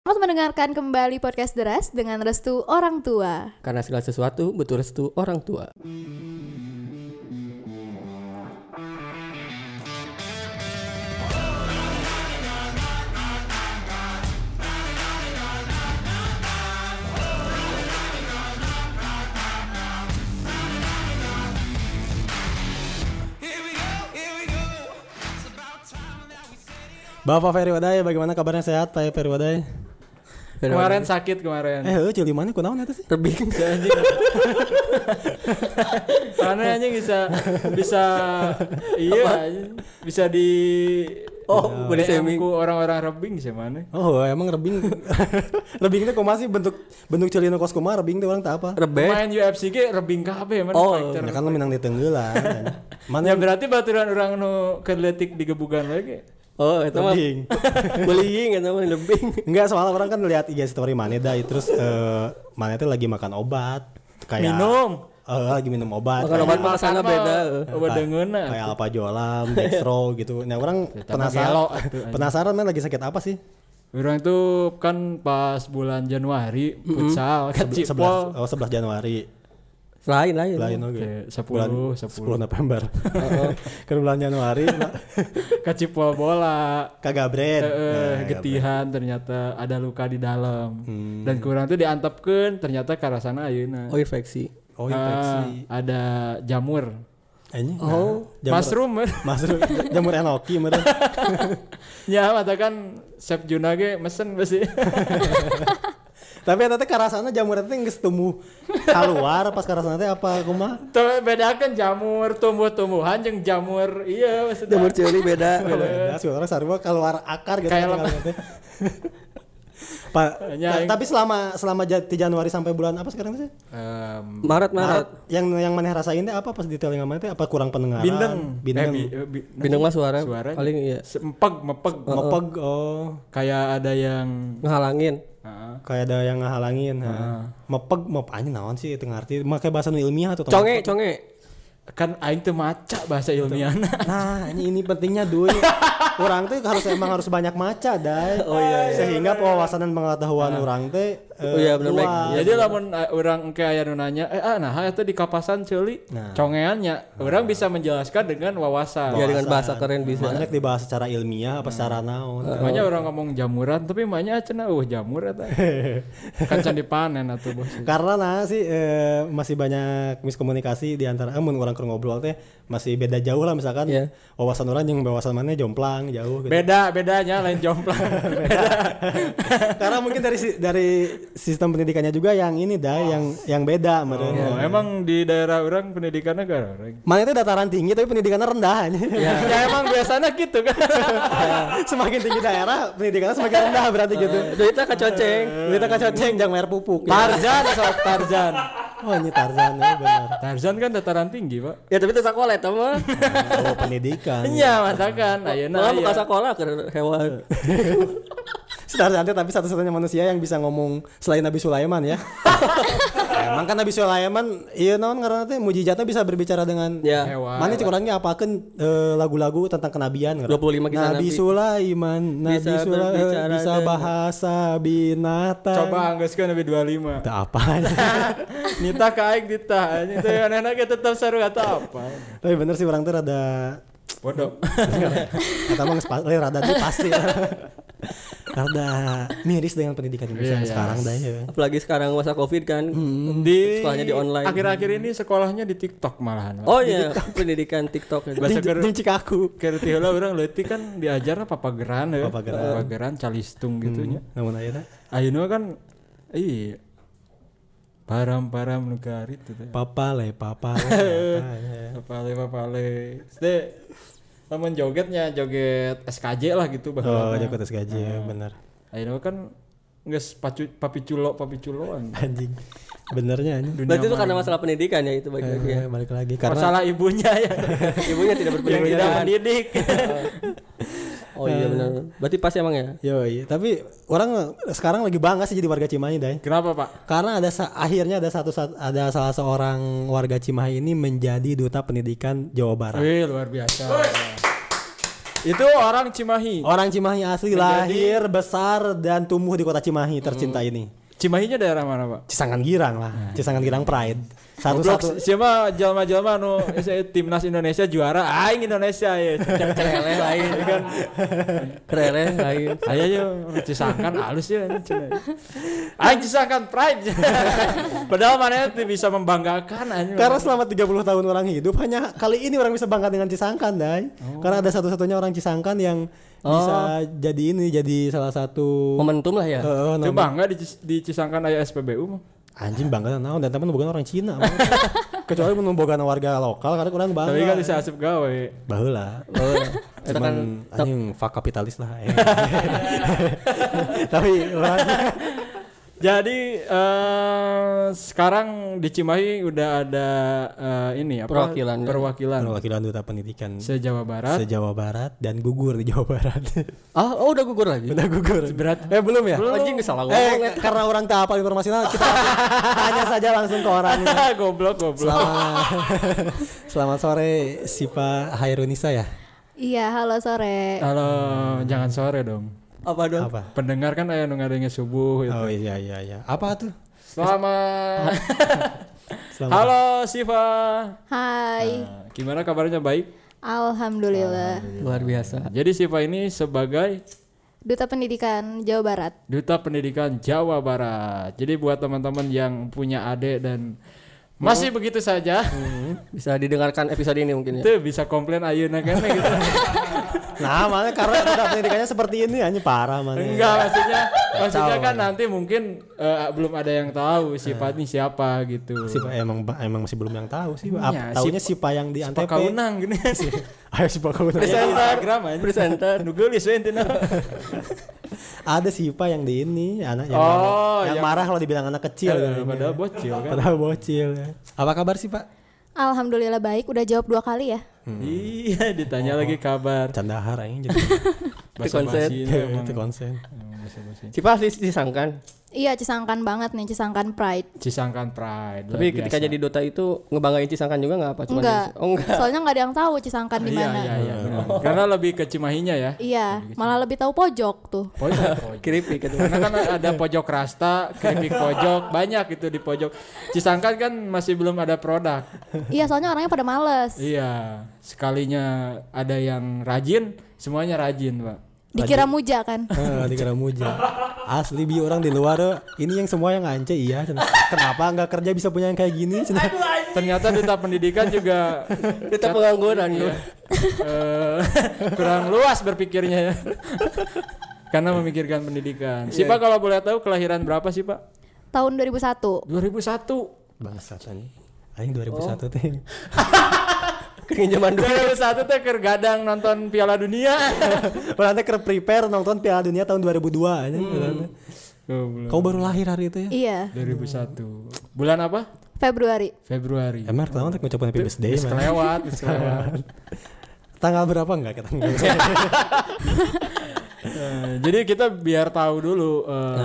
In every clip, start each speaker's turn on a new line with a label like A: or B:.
A: Selamat mendengarkan kembali podcast Deras dengan restu orang tua.
B: Karena segala sesuatu butuh restu orang tua.
C: Bapak Ferry Wadai, bagaimana kabarnya sehat Pak Ferry Wadai?
D: Kemarin sakit kemarin.
C: Eh, lu cili mana kunaon itu sih?
B: tebing
D: Anjing. Karena anjing bisa bisa iya anjing. bisa di
B: Oh, body
D: DM
B: shaming.
D: ku orang-orang rebing sih mana?
C: Oh, emang rebing. rebing itu kumaha sih bentuk bentuk celino kos kumaha rebing itu orang tak apa?
B: Rebe.
D: Main UFC ge rebing kabeh mana
B: Oh,
D: fighter.
C: Ya kan lu minang kan. ditenggelan.
D: Ya
C: Mana yang
D: berarti baturan orang nu keletik di gebugan lagi.
B: Oh, itu mah
C: rebing?
B: bullying itu mah lebing.
C: Enggak, soalnya orang kan lihat IG story Maneda terus eh Mane itu lagi makan obat kayak
D: Minum.
C: Eh, lagi minum obat.
B: Makan obat
C: kayak-
B: mah sana beda.
D: Obat dengeuna.
C: Kayak apa jolam, dextro gitu. Nah, orang
D: gelo,
C: penasaran.
D: atuh, anjing.
C: Penasaran Mane lagi sakit apa sih?
D: Orang tuh kan pas bulan Januari futsal kan
C: Sebe-
D: Cipol.
C: 11 oh 11 Januari.
B: Lain lain.
C: Lain oke.
D: Oke, 10,
C: Bulan- 10
D: 10.
C: November. Ke bulan Januari Pak.
D: Kacipol bola.
C: kagabren.
D: Heeh,
C: Nah,
D: Eh, getihan ternyata ada luka di dalam
C: Hmm.
D: dan kurang tuh diantepkeun ternyata karasana ayeuna
B: Oh, infeksi.
C: gabren. Oh, infeksi.
D: Ah, ada jamur
C: Anjing.
B: Oh.
C: nah, jamur,
D: mushroom eh.
C: Mushroom. jamur enoki meureun.
D: ya matakan chef Juna ge mesen pasti
C: Tapi eta teh karasana jamur eta teh geus tumbuh keluar pas karasana teh apa kumaha?
D: Tuh bedakan jamur tumbuh-tumbuhan jeung jamur iya maksudnya
B: Jamur cili beda.
C: Nah, si orang sarua keluar akar gitu kan,
D: Kayak lem-
C: kalau teh. Pa-
D: Ya,
C: ta-
D: yang-
C: tapi selama selama ja- di Januari sampai bulan apa sekarang sih?
D: Em,
B: Maret Maret.
C: Yang yang mana rasain teh apa pas di telinga mana teh apa kurang pendengaran?
D: bindeng
C: Bindeng.
D: Eh, bi- eh, bi-
B: Bindeng mah suara.
D: suara
B: Paling iya.
D: sempeg mepeg
C: Mepeg oh
D: kayak ada yang
B: Ngehalangin.
D: Heeh.
C: kayak ada yang ngehalangin. ha.
B: Ah.
C: Mepeg mep anjing naon sih teu ngarti. Make bahasa nu ilmiah tuh. tong.
B: Conge conge.
D: kan aing teu maca bahasa ilmiahna
C: Nah, ini, ini pentingnya dulu. orang tuh harus emang harus banyak maca, dai. Oh iya. Sehingga pewawasan dan pengetahuan orang teh eh,
B: Oh iya, bener,
C: luas.
B: Mike.
D: Jadi lamun uh, orang ke aya nu nanya, eh ah nah eta di kapasan ceuli
C: Nah.
D: congeannya. Orang bisa menjelaskan dengan wawasan.
B: Ya dengan bahasa keren
C: Makanya
B: bisa. Ah.
C: dibahas secara ilmiah apa secara naon.
D: Makanya orang ngomong jamuran tapi makanya cenah uh jamur eta. kan can dipanen atuh bos.
C: Karena nah sih eh, masih banyak miskomunikasi di antara eh, mun orang keur ngobrol teh masih beda jauh lah misalkan
B: Iya.
C: wawasan orang yang wawasan mana jomplang jauh gitu.
D: Beda bedanya lain jomplang.
C: Karena mungkin dari si- dari sistem pendidikannya juga yang ini dah yang yang beda meureun.
D: Oh, emang di daerah orang pendidikannya kan orang.
C: Mana itu dataran tinggi tapi pendidikannya rendah
D: Ya. emang biasanya gitu kan.
C: semakin tinggi daerah pendidikannya semakin rendah berarti gitu
B: Duitnya kacoceng.
C: kita kaca ceng jangan bayar pupuk ya.
D: Tarzan sok Tarzan.
C: oh ini Tarzan ya benar
D: Tarzan kan dataran tinggi, Pak.
B: Ya tapi itu sekolah itu mah.
C: oh pendidikan
D: Iya, matakan. Ayeuna
B: Malah
D: aya.
B: buka sekolah ke hewan.
C: Si Tarzan teh tapi satu-satunya manusia yang bisa ngomong selain Nabi Sulaiman ya emang kan Nabi Sulaiman iya naon karena teh mujizatnya bisa berbicara dengan
B: Ya.
D: Hewan.
C: Mana cik orangnya apakan eh, lagu-lagu tentang kenabian ngerti?
B: 25 kisah
C: Nabi
B: Nabi.
C: Sulaiman Nabi
B: Bisa
C: Sulaiman
B: berbicara
C: bisa
B: dengan-
C: bahasa binatang
D: Coba anggeuskeun lebih 25.
C: Teu apa
D: Nita kaik Nita Nita yang enak ya tetap seru atau apa
C: Tapi bener sih orang tuh rada
D: Bodoh
C: kata mah geus pa- eh, rada tuh pasti. rada miris dengan pendidikan Indonesia yang sekarang dah ya.
B: Apalagi sekarang masa covid kan.
D: di,
B: Sekolahnya di online.
D: Akhir-akhir ini sekolahnya di TikTok malahan
B: Oh iya, pendidikan TikTok. ya.
D: Bahasa
C: Jeung-
D: keur-
C: jeung Cikaku.
D: Kerti lah orang leutik kan diajarna papageran ya
C: Papageran.
D: Papageran calistung gitu nya
C: Namun ayeuna
D: Ayeuna kan Iya Param-param negara itu teh
C: papa le ya, papa le.
D: Papale papale Sede Lamun jogetnya joget SKJ lah gitu
C: Oh,
D: bahwa
C: jago tes gaji ya, bener.
D: Ayeuna kan Nges pacu, papi culo papi culoan
C: Anjing. Benernya anjing.
B: Berarti itu karena masalah pendidikan ya itu bagi-bagi.
C: Eh, balik lagi karena
D: Masalah ibunya ya
B: Ibunya tidak
D: yang tidak
B: berpendidikan.
D: mendidik.
B: Oh iya benar. Berarti pas emang ya.
C: yo iya. tapi orang sekarang lagi bangga sih jadi warga Cimahi ya. deh.
D: Kenapa pak?
C: Karena ada sa- akhirnya ada satu sat- ada salah seorang warga Cimahi ini menjadi duta pendidikan Jawa Barat.
D: Wih luar biasa. Itu orang Cimahi.
C: Orang Cimahi asli
D: Menjadi-
C: lahir besar dan tumbuh di kota Cimahi tercinta
D: Hmm.
C: ini.
D: Cimahinya daerah mana, Pak?
C: Cisangan Girang lah, Cisangan Girang Pride. Satu
D: Nah. Goblok,
C: satu
D: siapa jelma-jelma anu saya timnas Indonesia juara aing Indonesia ya cereleh lain kan
B: Kerele lagi.
D: saya yo cisangkan halus ya ini Cina. aing cisangkan pride padahal mana itu bisa membanggakan anjing
C: Karena selama 30 tahun orang hidup hanya kali ini orang bisa bangga dengan Cisangkan, Dai.
D: Oh.
C: Karena ada satu-satunya orang Cisangkan yang bisa jadi ini jadi salah satu
B: Momentum lah ya.
C: Eh,
D: itu
C: nama-
D: bangga di, Cis- di cisangkan aya SPBU mah
C: anjing bangga naon dan teman bukan orang Cina. Bang. Kecuali mun boga warga lokal karena kurang bangga.
D: tapi kan bisa asup gawe
C: Baheula.
B: Oh, itu
C: Cuman
B: kan
C: anjing fuck kapitalis lah. eh. Tapi orang-
D: jadi eh, sekarang di Cimahi udah ada eh, ini apa
B: Perwakilan.
D: perwakilan
C: perwakilan duta pendidikan
D: se Jawa Barat
C: se Jawa Barat dan gugur di Jawa Barat.
B: ah oh udah gugur lagi.
C: Udah gugur. Eh belum ya?
B: Anjing salah
C: Eh
B: ngomong. ya.
C: karena orang tak hafal informasinya kita tanya saja langsung ke orang.
D: goblok goblok
C: Selamat, selamat sore Sipa Hairunisa ya.
A: Iya, halo sore.
D: Halo, jangan sore dong.
B: Apa dong?
C: Apa?
D: Pendengar kan ayah nungadengnya subuh gitu.
C: Oh iya iya iya. Apa tuh?
D: Selamat.
C: Selamat.
D: Halo Siva.
A: Hai.
D: Nah, gimana kabarnya baik?
A: Alhamdulillah.
B: Luar biasa.
D: Jadi Siva ini sebagai
A: Duta Pendidikan Jawa Barat.
D: Duta Pendidikan Jawa Barat. Jadi buat teman-teman yang punya adik dan masih begitu saja,
B: Bisa didengarkan episode ini mungkin ya.
D: itu bisa komplain ayeuna kan gitu.
C: Nah, makanya karena duta pendidikannya seperti ini hanya parah mana.
D: Enggak maksudnya, maksudnya kan nanti mungkin eh, belum ada yang tahu
B: Iya.
D: sifatnya siapa gitu.
C: Sipa emang emang masih belum yang tahu sih.
D: Iya,
C: Apa taunya Sipa yang di
D: Sipa
C: Antep.
D: Kaunang gini.
C: Ayo Sipa kau nanya.
D: Presenter, Instagram aja.
B: Presenter.
D: Nu geulis we intina.
C: Ada Sipa yang di ini anak yang,
D: Oh,
C: yang
D: yang-
C: marah kalau dibilang anak
B: Iya,
C: kecil.
D: Eh,
C: kan.
D: Padahal bocil kan.
C: Padahal bocil ya. Apa kabar sih Pak?
A: Alhamdulillah baik. Udah jawab dua kali ya.
B: Hmm. Oh,
D: Iya, ditanya lagi kabar.
C: Candahar aja jadi
B: konsen.
D: basi Iya, emang.
C: itu konsen.
D: Basa-basi.
B: Cipa asli disangkan.
A: Iya, Cisangkan banget nih, Cisangkan Pride.
D: Cisangkan Pride. luar
B: Tapi ketika
D: biasa.
B: jadi Dota itu ngebanggain Cisangkan juga nggak apa? Cuman
A: Enggak.
B: Oh enggak.
A: Soalnya nggak ada yang tahu Cisangkan di
D: Iya,
A: mana.
D: iya, iya, benar.
B: Oh.
D: Karena lebih ke Cimahinya ya.
A: Iya, malah lebih tahu pojok tuh.
D: Pojok.
B: Kiripi gitu.
D: Karena kan ada pojok Rasta, keripik pojok, banyak itu di pojok. Cisangkan kan masih belum ada produk.
A: iya, soalnya orangnya pada males.
D: Iya, sekalinya ada yang rajin, semuanya rajin, Pak.
A: Dikira muja kan.
C: Eh, dikira muja. Asli bi orang di luar eh, ini yang semua yang ngance iya. cenah. Kenapa nggak kerja bisa punya yang kayak gini? cenah.
D: ah. Ternyata duta pendidikan juga
B: Dota pengangguran.
D: Iya. Eh, kurang luas berpikirnya ya. Karena memikirkan pendidikan. Si Pak kalau boleh tahu kelahiran berapa sih Pak?
A: Tahun 2001.
D: 2001.
C: Bangsat anjing. Aing 2001
D: Oh.
C: teh.
B: Keringin zaman dulu.
D: 2001 teh keur gadang nonton Piala Dunia.
C: Padahal teh keur prepare nonton Piala Dunia tahun 2002 anjing.
D: Hmm.
C: padahal teh.
D: Goblok.
C: Kau baru lahir hari itu ya?
A: Iya,
D: 2001. Bulan apa?
A: Februari.
D: Februari.
C: Iya. Emang pertama teh ngucapin happy birthday
D: Bis
C: man.
D: kelewat, bis kelewat.
C: Tanggal berapa enggak kita?
D: Eh, jadi kita biar tahu dulu eh,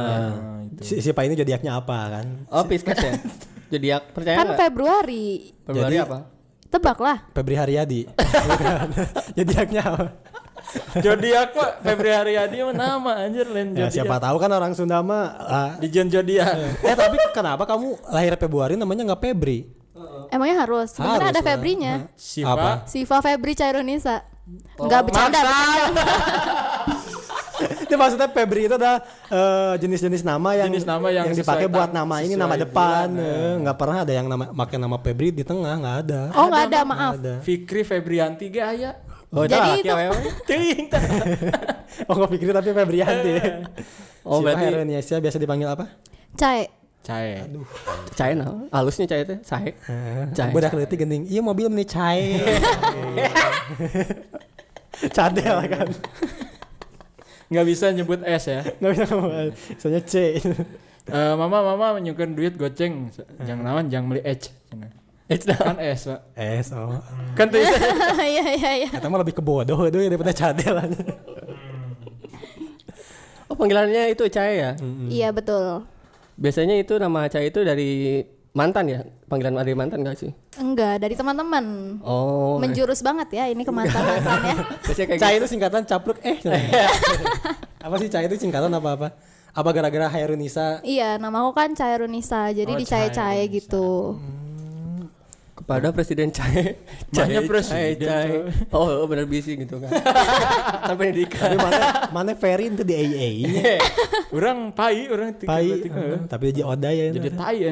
D: itu.
C: Si, si Pak ini zodiaknya apa kan?
B: Oh Pisces ya. Jadi ya, percaya
A: Kan
B: nggak?
A: Februari.
B: Februari
C: Jadi-
B: apa?
A: Tebaklah.
C: Febri Haryadi. Bukan. Zodiaknya apa?
D: Zodiak Pak Februari Hadi mah nama anjir lain
C: Ya,
D: zodiak.
C: siapa tahu kan orang Sunda mah ah.
D: Dijen zodiak.
C: Eh tapi kenapa kamu lahir Februari namanya nggak Febri?
A: Emangnya harus? Sebenarnya
C: Harus
A: ada
C: lah.
A: Febrinya.
C: Apa?
D: Siapa?
A: Siva Febri Cairunisa. Enggak bercanda.
C: itu maksudnya Febri itu adalah eh, jenis-jenis nama yang
D: Jenis nama yang
C: dipakai
D: sesuai
C: buat
D: tang-
C: nama ini
D: sesuai
C: nama
D: bulan,
C: depan. eh, Nggak pernah ada yang nama pakai nama Febri di tengah nggak ada.
A: Oh, enggak ada, maaf.
C: Ada.
D: Fikri Febrianti ge aya.
B: Oh,
A: Jadi
B: laki
A: itu-
B: awewe.
D: Teuing tah.
C: Oh nggak pikir tapi Febrianti.
B: Oh,
C: oh Siapa
B: berarti-
C: Heroniasia biasa dipanggil apa?
A: Cai.
D: Cae.
B: Cai nah. Halusnya cai teh, sae. Cai.
C: Budak leutik gening. Iya mobil meni cai. Cadel kan.
D: Nggak bisa nyebut S ya.
C: Nggak bisa ngomong. Soalnya C.
D: Eh, mama mama nyukeun duit goceng. Jangan naon jangan beli H. H kan S, Pak.
C: S O.
D: Kan tuh
A: Iya iya iya.
C: Eh, Kata mah lebih ke bodoh itu daripada cadel aja.
B: Oh, panggilannya itu cai ya.
D: Hmm.
A: Iya betul.
B: Biasanya itu nama cai itu dari mantan ya panggilan dari mantan gak sih
A: Enggak, dari teman-teman.
B: oh
A: Menjurus banget ya ini ke mantan-mantan ya.
B: biasanya kayak gitu.
C: Cai itu singkatan capluk eh. apa sih Cai itu singkatan apa apa? Apa gara-gara Hairunisa?
A: Iya, nama aku kan Cairunisa, jadi
D: Oh,
A: dicae-cae gitu.
B: kepada presiden Cai
D: Banyak presiden, coy.
B: oh oh, benar bisi gitu kan kan pendidikan
C: Tapi mana mana Ferry itu di AA.
D: Orang tai, orang tiga-
C: Pai.
D: tiga.
C: eh, Tapi jadi Oda ya. Jadi
D: Jadi tai ya.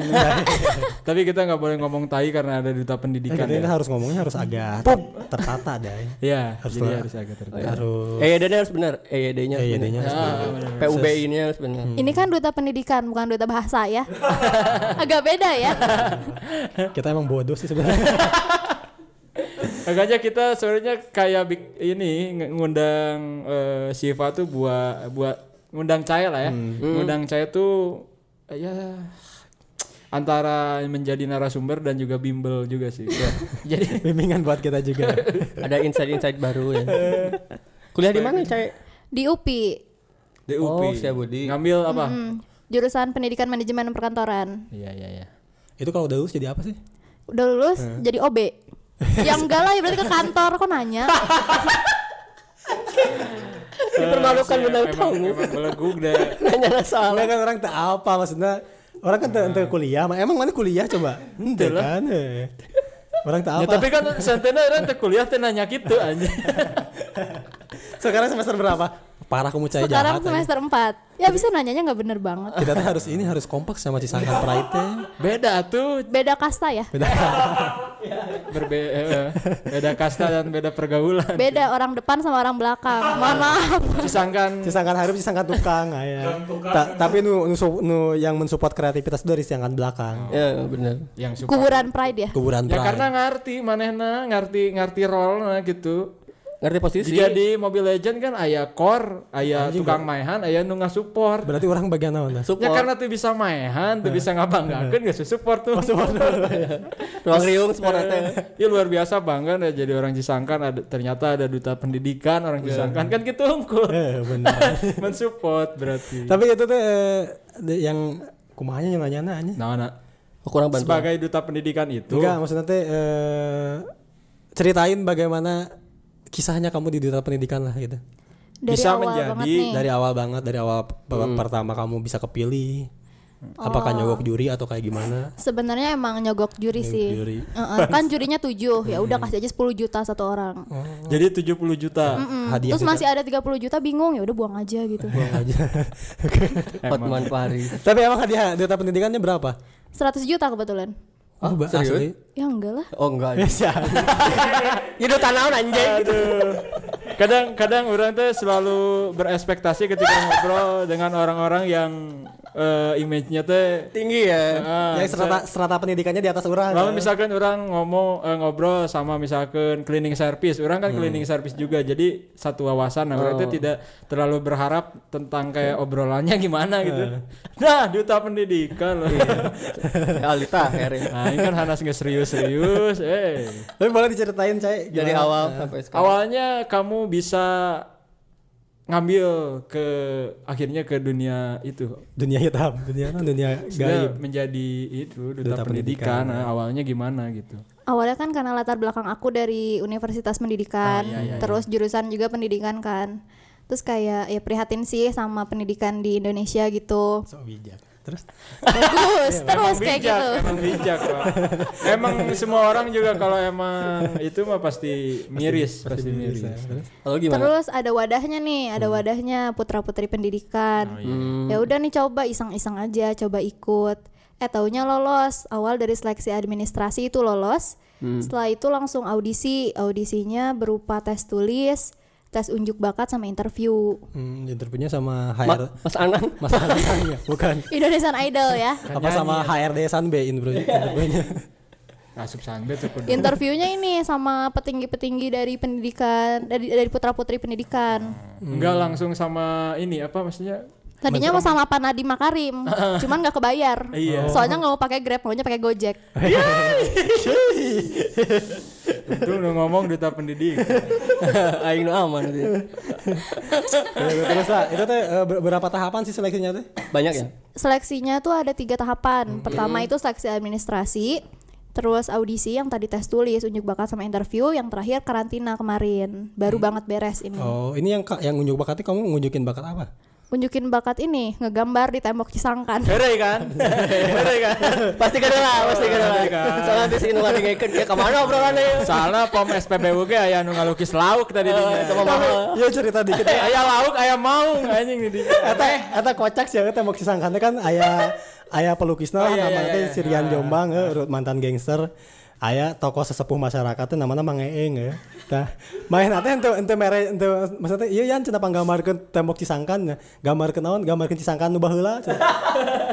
D: Tapi kita nggak boleh ngomong tai karena ada duta pendidikan
C: ini
D: ya.
C: Eh, harus ngomongnya harus agak tertata deh.
D: Iya,
C: Harus
D: jadi
C: lah.
D: harus agak tertata.
C: iya. Harus
B: EYD-nya E harus benar EYD-nya
D: E
B: harus
C: EYD-nya
B: benar.
C: harus
B: Ah, PUBI-nya harus benar
D: Hmm.
A: Ini kan duta pendidikan, bukan duta bahasa ya. Agak beda ya.
C: kita emang bodoh sih sebenarnya.
D: Makanya kita sebenarnya kayak bik- ini nge- ngundang eh, Siva tuh buat buat ngundang Caya lah ya.
B: Hmm.
D: Ngundang Caya tuh eh, ya antara menjadi narasumber dan juga bimbel juga sih. Ya. Jadi
C: Bimbingan buat kita juga.
B: ada insight-insight baru ya kuliah di mana Cai
A: Di UPI,
D: DUP
B: Oh, Sia Budi. Hmm.
D: ngambil apa?
A: mm, jurusan Pendidikan Manajemen Perkantoran.
D: Iya iya iya.
C: itu kalau udah lulus jadi apa sih?
A: Udah lulus jadi OB. Yang enggak lah ya berarti ke kantor kok nanya.
B: dipermalukan
D: Saya
B: benar
D: Eh, emang-
B: kamu
D: emang belegug deh.
B: nanya soal
C: Soalnya kan orang tak apa maksudnya orang kan tak tak kuliah, Ma- emang mana kuliah coba? Ente kan. eh. Orang tak
D: Ya,
C: apa.
D: tapi kan santena orang teh kuliah teh nanya gitu anjing.
C: Sekarang semester berapa? Parah kamu cai
A: Sekarang
C: jahat. anjing.
A: semester 4. Ya bisa nanyanya nggak bener banget.
C: Kita tuh harus ini harus kompak sama Cisakan Pride teh.
D: Beda tuh
A: Beda kasta ya.
C: Beda.
D: berbe eh, beda kasta dan beda pergaulan.
A: Beda orang depan sama orang belakang. Mohon maaf.
D: Sisangkan
C: Cisakan harus Cisakan tukang aya. Ta- tapi nu, nu, su- nu yang mensupport kreativitas itu dari Cisakan belakang.
B: ya benar
D: yang suka.
A: Kuburan Pride ya.
C: Oh. Kuburan
D: Ya
C: Pride.
D: karena ngerti manehna, ngerti ngerti role nah gitu.
B: ngerti
C: Iya
B: posisi
D: Jika di Mobile Legend kan aya core, aya tukang maehan, aya nu support.
C: Berarti orang bagian naon? nah?
D: Ya
B: support
D: karena tuh bisa maehan, tuh
C: Eh.
D: bisa ngabanggakeun geus support tuh.
B: ruang riung support aja
D: Ya luar biasa bangga dah jadi orang Cisangkan ada ternyata ada duta pendidikan orang Cisangkan kan gitu unggul.
C: Iya. Eh benar.
D: Mensupport berarti.
C: tapi itu tuh eh, de- yang kumahanya nanya nanya.
D: Nah, nah,
B: Oh, kurang bantu
D: sebagai duta pendidikan itu
C: Enggak, maksudnya teh eh, ceritain bagaimana kisahnya kamu di dunia pendidikan lah gitu.
A: Dari
D: Bisa
A: awal
D: menjadi
A: banget nih.
C: Dari awal banget, dari awal pe- pertama kamu bisa kepilih.
A: Hmm.
C: Apakah
A: Oh.
C: nyogok juri atau kayak gimana?
A: Sebenarnya emang nyogok juri sih.
C: juri.
A: Heeh,
C: Hmm.
A: kan jurinya 7. Ya udah kasih aja 10 juta satu orang.
D: jadi 70 juta.
A: Mm,
C: Oh, Hadiah
A: Terus masih ada 30 juta bingung ya udah buang aja gitu.
C: Buang aja.
B: Hotman Pari
C: Tapi emang hadiah duta pendidikannya berapa?
A: 100 juta kebetulan.
C: Oh, ba-
B: serius?
C: asli.
A: Ya enggak lah.
B: oh enggak
C: Biasa.
B: ya udah tanah anjing gitu
D: Kadang-kadang orang tuh selalu berespektasi ketika ngobrol dengan orang-orang yang eh, image-nya tuh
B: tinggi ya
D: eh,
C: Yang serata, serata pendidikannya di atas orang.
D: lalu misalkan orang ngomong eh, ngobrol sama misalkan cleaning service, orang kan cleaning service juga, jadi satu wawasan. Nah, orang tuh tidak terlalu berharap tentang kayak obrolannya gimana gitu. Nah, duta pendidikan loh.
B: Alita akhirnya
D: nah, ini kan Hanas nggak serius-serius. Eh,
C: Tapi boleh diceritain, Cai.
B: dari
C: gimana?
B: awal sampai sekarang
D: awalnya kamu bisa ngambil ke akhirnya ke dunia itu
C: dunia hitam, dunia dunia
D: Dia
C: gaib.
D: menjadi itu duta,
C: Duta
D: pendidikan,
C: pendidikan,
D: Nah, awalnya gimana gitu
A: Awalnya kan karena latar belakang aku dari Universitas
C: Ah,
A: Pendidikan,
C: iya,
A: terus jurusan juga pendidikan kan. Terus kayak ya prihatin sih sama pendidikan di Indonesia gitu.
C: So bijak. Terus
A: Bagus, terus kayak
D: bijak,
A: gitu.
D: Iya, emang bijak Pak. emang semua orang juga kalau emang itu mah pasti miris pasti, miris,
B: kalau gimana
A: Terus ada wadahnya nih, ada wadahnya putra-putri pendidikan. Ya udah nih coba iseng-iseng aja, coba ikut. Eh taunya lolos. Awal dari seleksi administrasi itu lolos. Setelah itu langsung audisi. Audisinya berupa tes tulis, tes unjuk bakat sama interview.
C: hmm, interviewnya sama
B: Ma-
C: HR
B: Mas Anan
C: Mas Hasan ya? Bukan.
A: Indonesian Idol ya.
C: Apa sama HRD Sanbe interviewnya?
D: asup sanbe tuh kudu.
A: Interviewnya ini sama petinggi-petinggi dari pendidikan dari dari putra-putri pendidikan.
D: enggak langsung sama ini apa maksudnya
A: Tadinya mau sama Pak Nadiem Makarim, cuman nggak kebayar. Soalnya nggak mau pakai Grab, maunya pakai Gojek.
D: Itu udah ngomong duta pendidikan.
B: Aing nu aman gitu.
C: Ya, Terus lah, itu teh eh, ber- berapa tahapan sih seleksinya teh?
B: Banyak ya?
A: Seleksinya tuh ada tiga tahapan. Pertama itu seleksi administrasi, terus audisi yang tadi tes tulis, unjuk bakat sama interview, yang terakhir karantina kemarin. Baru banget beres ini.
C: Oh, ini yang ka- yang ngunjuk bakatnya kamu ngunjukin bakat apa?
A: Unjukin bakat ini, ngegambar di tembok Cisangkan.
B: Herai kan? Herai kan? Pasti kada lah, pasti kan. kada lah. Soalnya nanti sih nunggu ngikeun ke kemana obrolannya ya?
D: Soalnya pom SPBU ge aya nu ngalukis lauk tadi dinya.
B: Sama mama.
C: Iya cerita dikit.
D: Eh, Aya lauk, aya maung anjing di dinya.
C: Eta eta kocak sih eta mau kisangkannya kan aya aya pelukisna lah
D: iya,
C: namanya
D: iya,
C: teh
D: iya.
C: Sirian Jombang eh, urut mantan gangster. Aya tokoh sesepuh masyarakat teh namanya Mang Eeng ya. Tah, main ate ente ente mere ente maksudnya iya yan cenah panggambarkeun tembok Cisangkan ya. Gambarkeun naon? Gambarkeun Cisangkan nu Anu baheula. cenah.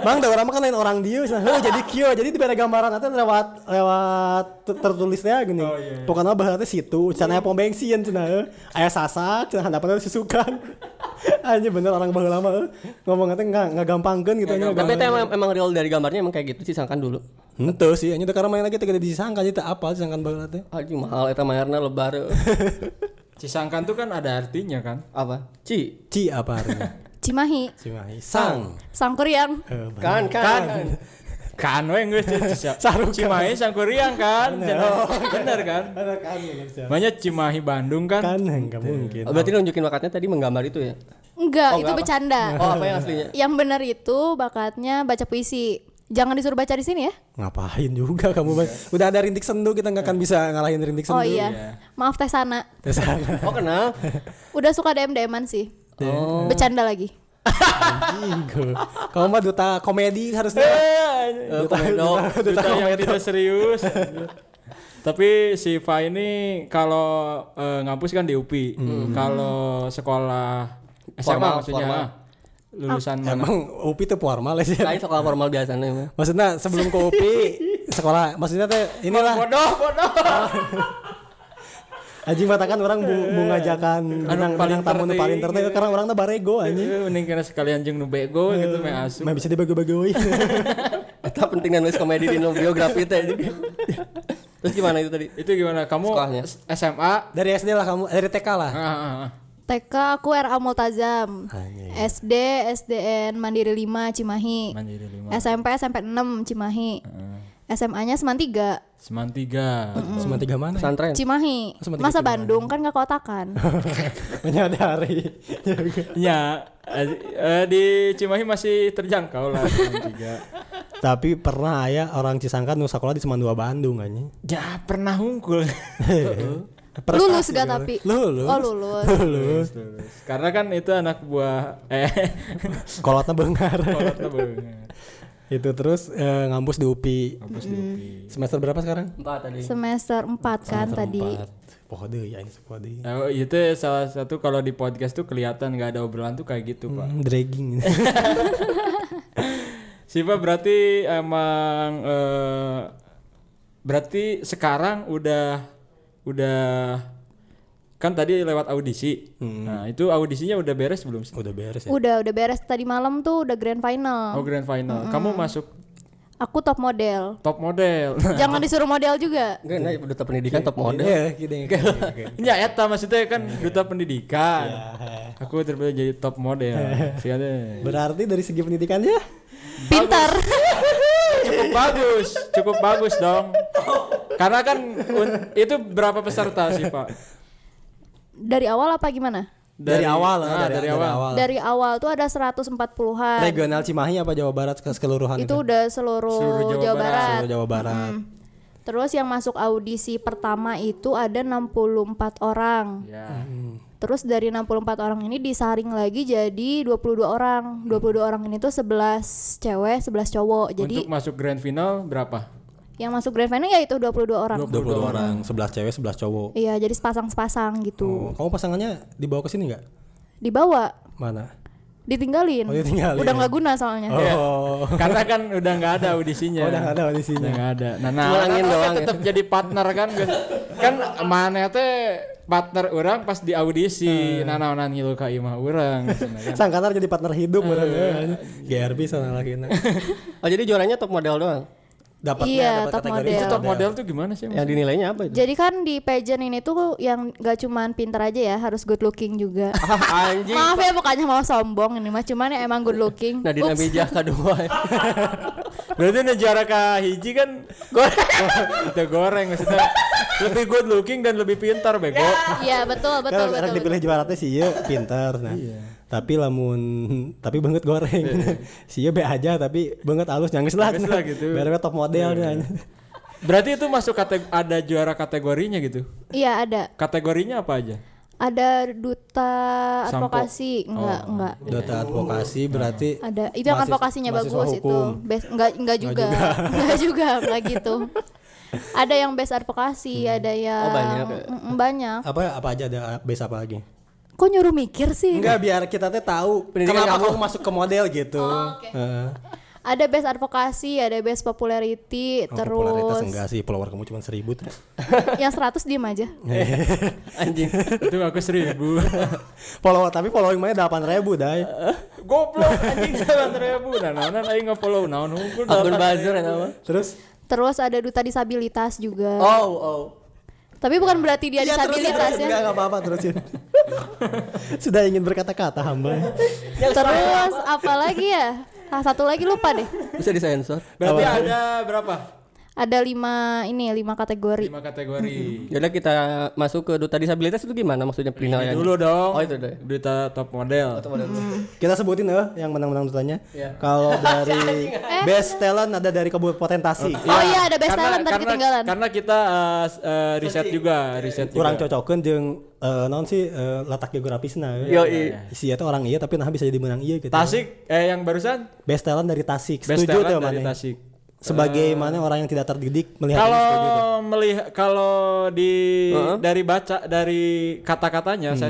C: Bang da urang mah kan lain orang dieu cenah. Heuh jadi kieu. Jadi dibere gambaran ate lewat lewat ter- tertulisnya gini. Pokoknya baheula teh situ, cenah aya pom bensin cenah. heuh. Aya sasak cenah handapna teh susukan. Anjir bener orang baheula mah heuh. ngomongnya teh nggak nggak gampangkeun gitu nya.
B: Tapi itu emang, emang real dari gambarnya emang kayak gitu sih sangkan dulu.
C: Henteu sih, anjir teh karena main lagi teh gede disangkan jadi teu apal Cisangkan baheula teh.
B: Aduh mahal eta mayarna lebar.
D: Cisangkan tuh kan ada artinya kan.
B: Apa? Ci.
C: Ci apa artinya?
A: Cimahi,
C: Cimahi. Sang.
A: Sangkuriang.
C: Eh, bener.
B: Kan kan.
D: Kan we geus
C: Sarukan.
D: Cimahi Sangkuriang kan.
B: Oh, iya.
D: Bener kan?
C: Ada kan bener, siap.
D: Banyak Cimahi Bandung kan.
C: Kan enggak mungkin.
B: Oh, Berarti nunjukin bakatnya tadi menggambar itu ya?
A: Enggak, itu
B: enggak apa.
A: bercanda.
B: Oh apa yang aslinya?
A: Yang benar itu bakatnya baca puisi. Jangan disuruh baca di sini ya.
C: Ngapain juga kamu, Bang? Udah ada rintik sendu kita nggak akan bisa ngalahin rintik sendu.
A: Oh iya. Maaf Teh Sana.
C: Terus sana.
B: Oh kenal?
A: Udah suka DM-DM-an sih.
B: Oh.
A: Bercanda lagi.
C: Anjing. Kamu mah duta komedi harusnya.
B: Eh, Komedo.
D: Duta yang tidak serius. Tapi si Fa ini kalau eh, ngampus kan di UPI. Kalau sekolah SMA
B: Hmm. Formal,
D: maksudnya
B: formal.
D: ah, lulusan mana?
C: Emang UPI itu formal ya sih.
B: Lain sekolah formal biasanya mah.
C: Maksudnya sebelum ke UPI sekolah, maksudnya teh inilah
D: Bodoh, bodoh.
C: anjing matakan orang bu- bungajakan benang benang tamu nu paling tertentu karena orang teh barego anjing.
D: Eh, Mending karena sekalian jeung nu bego gitu
B: Hmm.
D: meh asup.
C: Mah bisa dibagi-bagi.
B: Eta penting nulis komedi di nu biografi teh. Terus gimana itu tadi?
D: Itu gimana? Kamu
B: Sekolahnya.
D: S- SMA?
C: Dari SD lah kamu, dari TK lah.
D: Ah, ah, ah.
A: TK aku RA Multazam.
C: Anjing.
A: SD SDN Mandiri 5 Cimahi.
D: Mandiri lima.
A: SMP SMP 6 Cimahi. SMA-nya Seman 3
D: Seman tiga.
B: Hmm.
C: Cuma tiga mana? ya?
B: Pesantren.
A: Cimahi. Masa Bandung kan gak kotakan.
C: Menyadari.
D: Ya, eh, eh, di Cimahi masih terjangkau lah Seman tiga.
C: Tapi pernah ya orang Cisangkan nu sekolah di Semandua Bandung anjing.
D: Ya pernah hungkul.
A: lulus gak tapi?
C: Lulus.
A: Oh lulus.
C: Lulus.
D: Karena kan itu anak buah eh
C: Kolotnya bengar.
D: kolotnya banget.
C: itu terus eh, ngampus di UPI.
D: Kampus di UPI.
C: Hmm. Semester berapa sekarang?
B: Empat tadi.
A: Semester 4 kan tadi.
C: Poho deui ya ini sekolah deui.
D: Nah, itu salah satu kalau di podcast tuh kelihatan nggak ada obrolan tuh kayak gitu pak.
C: Hmm, dragging.
D: Siva berarti emang eh, berarti sekarang udah udah kan tadi lewat audisi. Nah itu audisinya udah beres belum sih?
C: Udah beres ya.
A: Udah udah beres tadi malam tuh udah grand final.
D: Oh grand final. Kamu masuk
A: Aku top model.
D: top model.
A: Jangan disuruh model juga.
B: Enggak, nah, duta pendidikan top model.
C: Iya, gitu ya.
D: Ya eta maksudnya kan
C: Iya.
D: duta pendidikan. Aku terpilih jadi top model. Siapa?
C: Berarti dari segi ya? pendidikannya
A: Pintar.
D: cukup bagus, cukup bagus dong. Karena kan un- itu berapa peserta sih pak?
A: Dari awal apa gimana?
C: dari, awal lah,
D: ah, dari, awal.
A: Dari awal tuh ada 140-an.
C: Regional Cimahi apa Jawa Barat kes- keseluruhan
A: Itu udah seluruh, Jawa, Barat.
C: ya. Seluruh Jawa Barat.
A: Terus yang masuk audisi pertama itu ada 64 orang.
D: Ya.
C: Hmm.
A: Terus dari 64 orang ini disaring lagi jadi 22 orang. 22
C: Hmm.
A: orang ini tuh 11 cewek, 11 cowok. Jadi
D: Untuk masuk grand final berapa?
A: yang masuk grand final ya itu 22 orang.
C: 20 orang, 11 cewek, 11 cowok.
A: Iya, jadi sepasang-sepasang gitu.
C: Oh, kamu pasangannya dibawa ke sini nggak?
A: Dibawa
C: Mana?
A: ditinggalin.
C: Oh, ditinggalin.
A: Udah nggak guna soalnya.
C: Oh.
D: Karena kan udah nggak ada audisinya.
C: Oh, udah nggak ada audisinya.
D: Udah nggak ada. Nah, nah,
B: Ngulangin
D: nah,
B: doang ya.
D: tetap jadi partner kan. guys. kan mana teh partner orang pas di
C: Hmm.
D: audisi. Nah, nah, nah ngilu ka imah gitu. orang.
A: Iya.
C: Sangkatar jadi partner hidup orang ya. GRB sana lagi.
B: Oh jadi juaranya top model doang.
C: Dapatnya
A: Iya,
C: dapat
A: top
C: kategori
A: model.
D: Itu top model tuh gimana sih?
B: Yang dinilainya apa itu?
A: Jadi kan di pageant ini tuh yang gak cuman pintar aja ya, harus good looking juga.
B: Ah, anjing.
A: Maaf ya bukannya mau sombong ini mah, cuman ya emang good looking. Ups.
B: Nadine Amijah kedua.
D: Berarti nih juara ka hiji kan goreng. Udah goreng maksudnya. Lebih good looking dan lebih pintar bego.
A: Iya betul betul
C: Kan
A: betul.
C: orang dipilih juara teh sih ya pinter nah. Tapi lamun tapi banget goreng. sih ya be aja tapi banget halus nyangis lah. Iya,
D: Nyangis lah gitu.
C: Biar top model nah. nya.
D: Berarti itu masuk kategori ada juara kategorinya gitu.
A: Iya ada
D: Kategorinya apa aja?
A: ada duta
D: Sampo.
A: advokasi enggak enggak
C: Data advokasi berarti
A: ada itu yang
C: Mahasiswa-
A: advokasinya
C: mahasiswa
A: bagus itu
C: hukum.
A: best enggak enggak juga enggak juga enggak gitu ada yang best advokasi ada yang
B: banyak ya.
A: Mm, banyak
C: apa apa aja ada base apa lagi?
A: kok nyuruh mikir sih
C: Enggak biar kita teh tahu
B: Pendidikan
C: kenapa
B: kamu.
C: kamu masuk ke model gitu.
A: Oh,
C: Heeh.
A: ada best advokasi ada best popularity
C: Oh, popularitas
A: terus
C: enggak sih follower kamu cuma seribu tuh.
A: yang 100 diem aja
B: Anjing.
D: Itu aku seribu.
C: follower tapi following mana delapan ribu dai.
D: Goblok anjing jalan ribu. Nah, nah, nah, aing nge-follow naon hukum.
B: Abdul Bazir atau apa?
C: Terus
A: terus ada duta disabilitas juga
B: Oh, oh.
A: tapi bukan berarti dia
C: Iya, terusin,
A: disabilitas
C: terusin.
A: ya
C: Enggak enggak apa-apa terusin. Sudah ingin berkata-kata hamba.
A: terus apa lagi ya ah, satu lagi lupa deh
B: Bisa disensor.
D: Berarti ada berapa?
A: ada lima ini lima kategori
D: Lima kategori.
B: Yaudah kita masuk ke duta disabilitas itu gimana maksudnya penilaiannya?
D: Dulu dong.
B: Oh itu deh.
D: Duta Oh, top model.
C: Kita sebutin eh yang menang-menang dutanya.
D: Iya.
C: Kalau dari
A: Eh,
C: best talent ada dari kabupaten Tasik.
A: oh iya ada best
D: Karena-
A: talent tadi
D: karena-
A: ketinggalan
D: Karena kita eh, s- eh, riset juga, riset
C: Kurang
D: juga.
C: cocokeun jeung eh, naon sih eh, letak
D: Iya,
C: geografisna.
B: Yo
C: Isi eta orang iya tapi nah bisa jadi menang iya gitu.
D: Tasik eh yang barusan
C: Best talent dari Tasik.
D: best
C: Setuju tuh
D: talent dari
C: mana?
D: Tasik.
C: Sebagai mana orang yang tidak terdidik melihat
D: Kalau
C: ini setuju.
D: melihat kalau di dari baca dari kata-katanya saya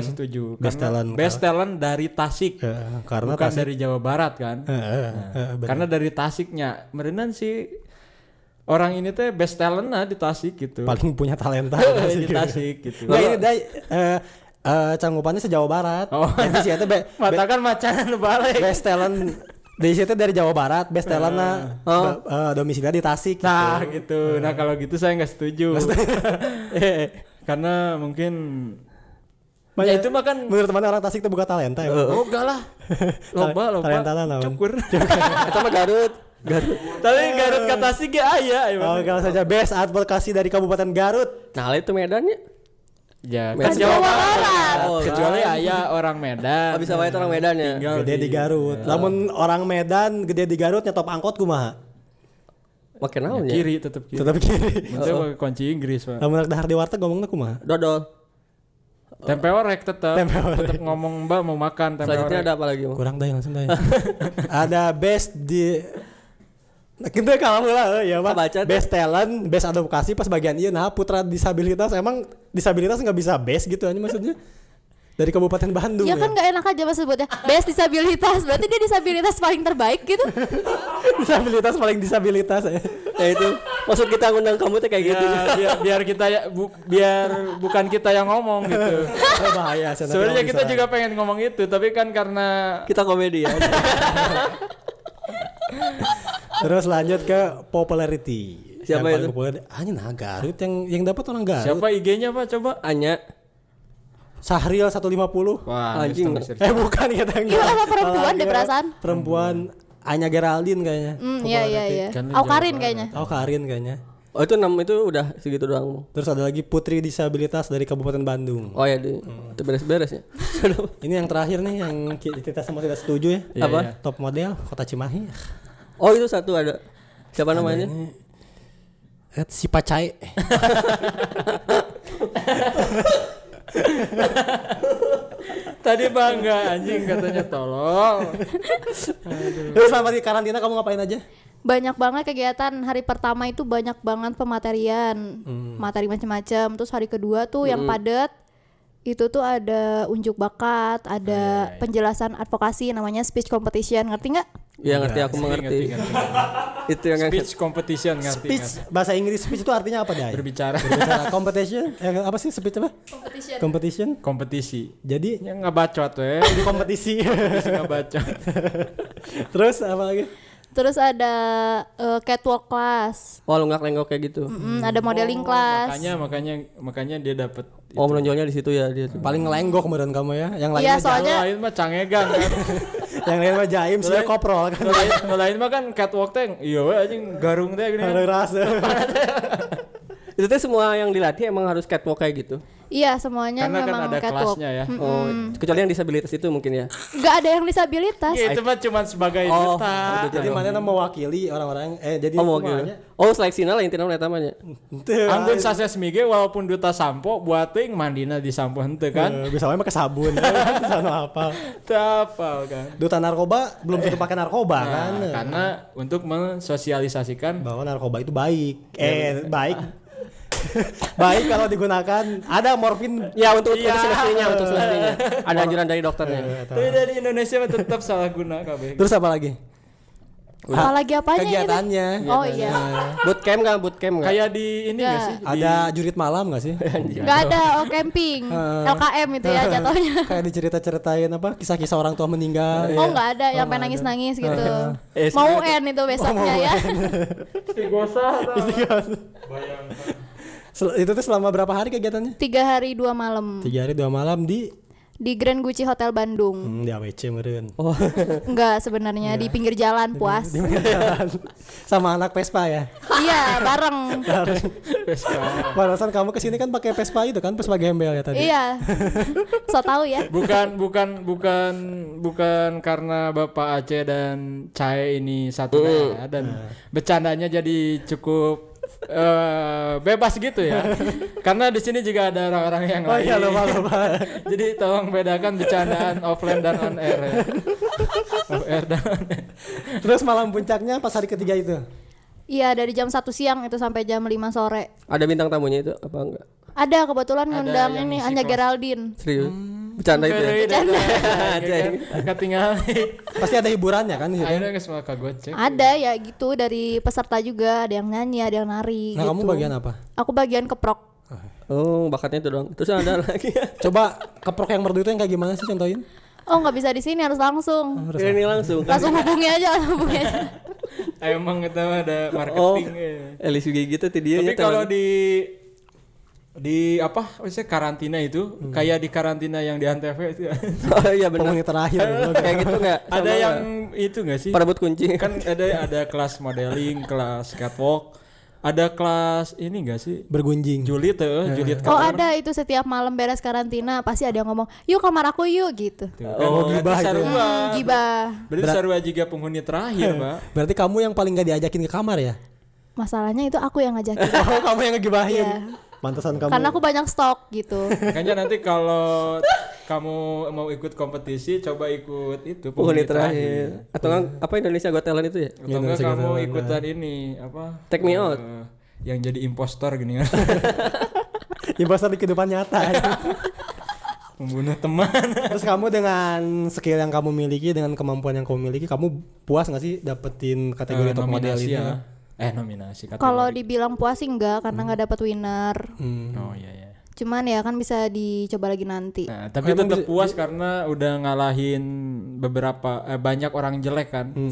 C: Hmm.
D: setuju.
C: Best
D: Karena
C: talent.
D: Best talent dari Tasik.
C: Eh, karena
D: Bukan dari Jawa Barat kan?
C: Eh, eh, eh, bener.
D: Karena dari Tasiknya. Merenan sih orang ini teh best talent lah di Tasik gitu.
C: paling punya talenta Iya.
D: di Tasik gitu.
C: Nah, ini dai eh eh, canggupannya sejawa barat.
D: Oh.
C: Jadi sih eta be- be-
D: Mata kan macan balik.
C: best talent di situ dari Jawa Barat best talent nah domisilinya di Tasik gitu.
D: Eh. Oh. Nah gitu. Nah kalau gitu saya nggak setuju. Eh, Karena mungkin
C: Banyak-
D: Ya, itu mah kan-
C: menurut teman orang Tasik itu bukan talenta ya.
D: oh enggak lah. Loba loba.
C: Talenta naon?
D: Cukur.
B: Itu mah Garut. Garut.
D: Tapi Garut kata sih ge aya ya.
C: Oh, kalau saja best advokasi dari Kabupaten Garut.
B: Nah, lah itu medannya.
D: Ya,
B: Kan
D: kan
A: Jawa
D: Jawa Barat.
B: Barat.
D: Kecuali aya orang Medan.
B: Oh, bisa wae itu orang medannya.
D: Tinggal
C: Gede di Garut.
D: Iya.
C: Lamun orang Medan gede di Garut nyetop angkot kumaha?
B: Makin naon ya? Oh.
D: kiri tetap kiri.
C: Tetap kiri.
D: Itu pakai kunci Inggris, Pak.
C: Lamun rek dahar di warteg ngomongna kumaha?
B: Dodol.
D: Tempe orek tetap.
C: Tempe orek.
D: Tetap ngomong Mbak mau makan tempe
B: Selanjutnya
D: orek.
B: ada apa lagi? Bang?
C: Kurang dai langsung ya. dai. Ada best di Nah, Gitu kalau lah eh, ya Pak.
B: Kebaca tuh.
C: Best talent, best advokasi pas bagian iya nah putra disabilitas emang disabilitas nggak bisa best gitu aja maksudnya. Dari Kabupaten Bandung.
A: ya kan nggak enak aja mas sebutnya best disabilitas berarti dia disabilitas paling terbaik gitu
C: disabilitas paling disabilitas ya.
B: Ya itu. Maksud kita ngundang kamu tuh kayak
D: Ya,
B: gitu.
D: biar, biar kita ya bu- biar bukan kita yang ngomong gitu.
C: Oh, bahaya sana,
D: Sebenarnya
C: tidak
D: kita
C: bisa.
D: juga pengen ngomong itu, tapi kan karena
B: Kita komedi ya.
C: terus lanjut ke popularity.
B: Siapa
C: yang paling
B: itu?
C: Populer, hanya nah Garut yang yang dapat orang Garut.
D: siapa IG-nya Pak coba?
B: Anya.
C: Sahril 150.
D: Wah,
B: Anjing.
D: mister- mister.
C: Eh bukan kita enggak.
A: apa Iya, perempuan
C: Malah
A: deh perasaan?
C: Perempuan Anya Geraldine kayaknya.
A: hmm iya iya iya
D: Kan lu
A: oh
D: Jawa
A: Karin kayaknya
C: Oh Karin kayaknya.
B: Oh itu enam itu udah segitu doang.
C: Terus ada lagi Putri Disabilitas dari Kabupaten Bandung.
B: Oh ya di
D: Hmm.
B: itu beres-beres ya.
C: Ini yang terakhir nih yang ki- kita semua tidak setuju ya.
D: Iya,
B: Apa?
D: iya.
C: Top model Kota Cimahi.
B: oh itu satu ada. Siapa namanya?
C: Eh, Si Pacai.
D: Tadi bangga anjing katanya tolong.
C: Terus selama di karantina kamu ngapain aja?
A: banyak banget kegiatan hari pertama itu
D: Hmm.
A: banyak banget pematerian materi macam-macam terus hari kedua tuh yang padat itu tuh ada unjuk bakat, ada
D: iya, iya.
A: penjelasan advokasi namanya speech competition, ngerti nggak?
B: Ya ngerti
D: Iya,
B: aku mengerti.
D: Ngerti, ngerti,
B: Itu yang
D: Speech competition ngerti,
C: Speech
D: ngerti.
C: bahasa Inggris speech itu artinya apa Day?
D: Berbicara
C: Berbicara competition eh, apa sih speech apa?
A: Competition.
C: Competition.
D: kompetisi.
C: Jadi
D: Ya nggak bacot ya.
C: kompetisi.
D: nggak bacot.
C: Terus apa lagi?
A: Terus ada eh, catwalk class,
B: Oh lenggak lenggok kayak gitu.
A: Mm, ada modeling
D: Oh,
A: class.
D: Makanya makanya makanya dia dapat.
B: Oh menonjolnya di situ ya dia. tuh.
C: Paling ngelenggok kemudian kamu ya. Yang lain
A: Iya,
C: mah
A: soalnya
D: Yang lain mah cangegan kan.
C: ja- yang lain mah jaim sih ya, koprol kan.
D: Yang lain- yang lain mah kan catwalk teh. Iya we, anjing garung teh gini. kan.
C: Ada rasa.
B: Itu tuh semua yang dilatih emang harus catwalk kayak gitu.
A: iya semuanya
D: Karena kan
A: memang
D: ada
A: catwalk.
D: kelasnya ya.
B: Oh, kecuali yang disabilitas itu mungkin ya.
A: Nggak ada yang disabilitas.
D: Iya, itu mah cuma sebagai
B: Oh,
D: duta.
B: udah
C: Jadi mana yang mewakili orang-orang eh jadi
B: Oh, mau gitu. Oh, seleksi lah intinya namanya tamanya.
D: Anggun sases mige walaupun duta sampo buat ting mandina di sampo henteu kan.
C: kan bisa wae make sabun. Sana apa?
D: Teu apal kan.
C: Duta narkoba belum tentu pakai narkoba kan.
D: Nah, karena untuk mensosialisasikan
C: bahwa narkoba itu baik. Eh, baik. baik kalau digunakan. Ada morfin.
B: Ya untuk untuk
D: Iya.
B: seleksinya, untuk seleksinya. Ada anjuran dari dokternya.
D: tapi dari Indonesia mah tetap salah guna kabeh.
C: Terus apa lagi?
A: Apalagi apanya gitu?
C: Kegiatannya. Ya.
A: Oh iya.
B: Bootcamp nggak? Bootcamp nggak?
D: Kayak di ini
A: Nggak.
D: enggak sih? Di-
C: Ada jurit malam gak sih?
A: Nggak ada oh camping, LKM itu
D: Iya.
A: ya jatuhnya.
C: Kayak dicerita-ceritain apa kisah-kisah orang tua meninggal.
A: Oh nggak ada yang pengen nangis-nangis gitu.
B: Eh,
A: Mau UN itu besoknya ya.
C: Iya. Sel- itu tuh selama berapa hari kegiatannya?
A: Tiga hari dua malam
C: Tiga hari dua malam di
A: di Grand Gucci Hotel Bandung.
C: hmm, di AWC meren.
A: Enggak sebenarnya di pinggir jalan puas.
C: Sama anak Vespa ya.
A: iya bareng.
C: Padahal kamu kesini kan pakai Vespa itu kan Vespa gembel ya tadi.
A: iya. So tahu ya.
D: bukan bukan bukan bukan karena Bapak Aceh dan Cae
B: Uh.
D: ini satu daerah dan
C: Uh.
D: bercandanya jadi cukup eh, bebas gitu ya. karena di sini juga ada orang-orang yang
C: Oh iya
D: lain.
C: lupa lupa.
D: Jadi tolong bedakan bercandaan offline dan on air. Ya. Off air dan on air.
C: Terus malam puncaknya pas hari ketiga itu.
A: Iya dari jam 1 siang itu sampai jam 5 sore.
B: Ada bintang tamunya itu apa enggak?
A: Ada kebetulan
D: Ada
A: ngundang
D: yang
A: ini
D: ngisi
A: Anya
D: kelas.
A: Geraldine.
B: Serius? Bercanda itu ya?
D: Hmm. Bercanda. Ketinggalan.
C: Pasti ada hiburannya kan di situ.
D: Akhirnya nggak semua kagocek.
B: Ah.
A: Ada ya gitu dari peserta juga ada yang nyanyi, ada yang nari
C: Nah,
A: gitu.
C: kamu bagian apa?
A: Aku bagian keprok.
B: Oh, bakatnya itu doang. Terus ada lagi ya?
C: Coba keprok yang merdu itu yang kayak gimana sih contohin?
A: Oh nggak bisa di sini harus langsung.
B: Kira ini langsung. kan?
A: Langsung hubungi aja, langsung hubungi aja.
D: Emang kita ada
B: Oh,
D: marketing. ya.
B: Elis juga gitu tadi dia.
D: Tapi
B: ya,
D: kalau
B: teman.
D: di di apa maksudnya karantina itu kayak di karantina yang di antv itu ya.
B: Oh iya benar.
C: Penghuni terakhir.
B: Kayak gitu enggak?
D: ada yang itu nggak sih
B: perebut kunci.
D: kan ada ada kelas modeling kelas catwalk ada kelas ini nggak sih eh,
C: Bergunjing.
D: Juliet tuh Juliet
A: Oh ada itu setiap malam beres karantina pasti ada yang ngomong, yuk kamar aku yuk gitu.
D: oh
C: gibah itu.
D: sarua
A: Hmm, gibah.
D: berarti sarua juga penghuni terakhir pak
C: Berarti kamu yang paling gak diajakin ke kamar ya?
A: Masalahnya itu aku yang ngajakin.
B: Eh,
C: Oh, kamu yang ngegibahin.
A: Iya.
C: Mantesan kamu.
A: Karena aku banyak stok gitu.
D: makanya nanti kalau kamu mau ikut kompetisi coba ikut itu
B: Penghuni terakhir. Atau enggak, apa Indonesia Got Talent itu ya?
C: Iya,
D: atau enggak kamu ikutan ini apa
B: Take me out.
D: Eh, yang jadi impostor gini kan
C: Ya bahasa di kehidupan nyata.
D: membunuh teman
C: Terus kamu dengan skill yang kamu miliki, dengan kemampuan yang kamu miliki, kamu puas gak sih dapetin kategori
D: Eh,
C: top model
D: nominasi
C: itu?
D: ya. eh nominasi kategori.
A: Kalau dibilang puas sih enggak karena nggak dapat winner.
D: oh iya iya
A: Cuman ya kan bisa dicoba lagi nanti.
D: Nah, tapi tetap puas karena udah ngalahin beberapa eh, banyak orang jelek kan
C: Hmm,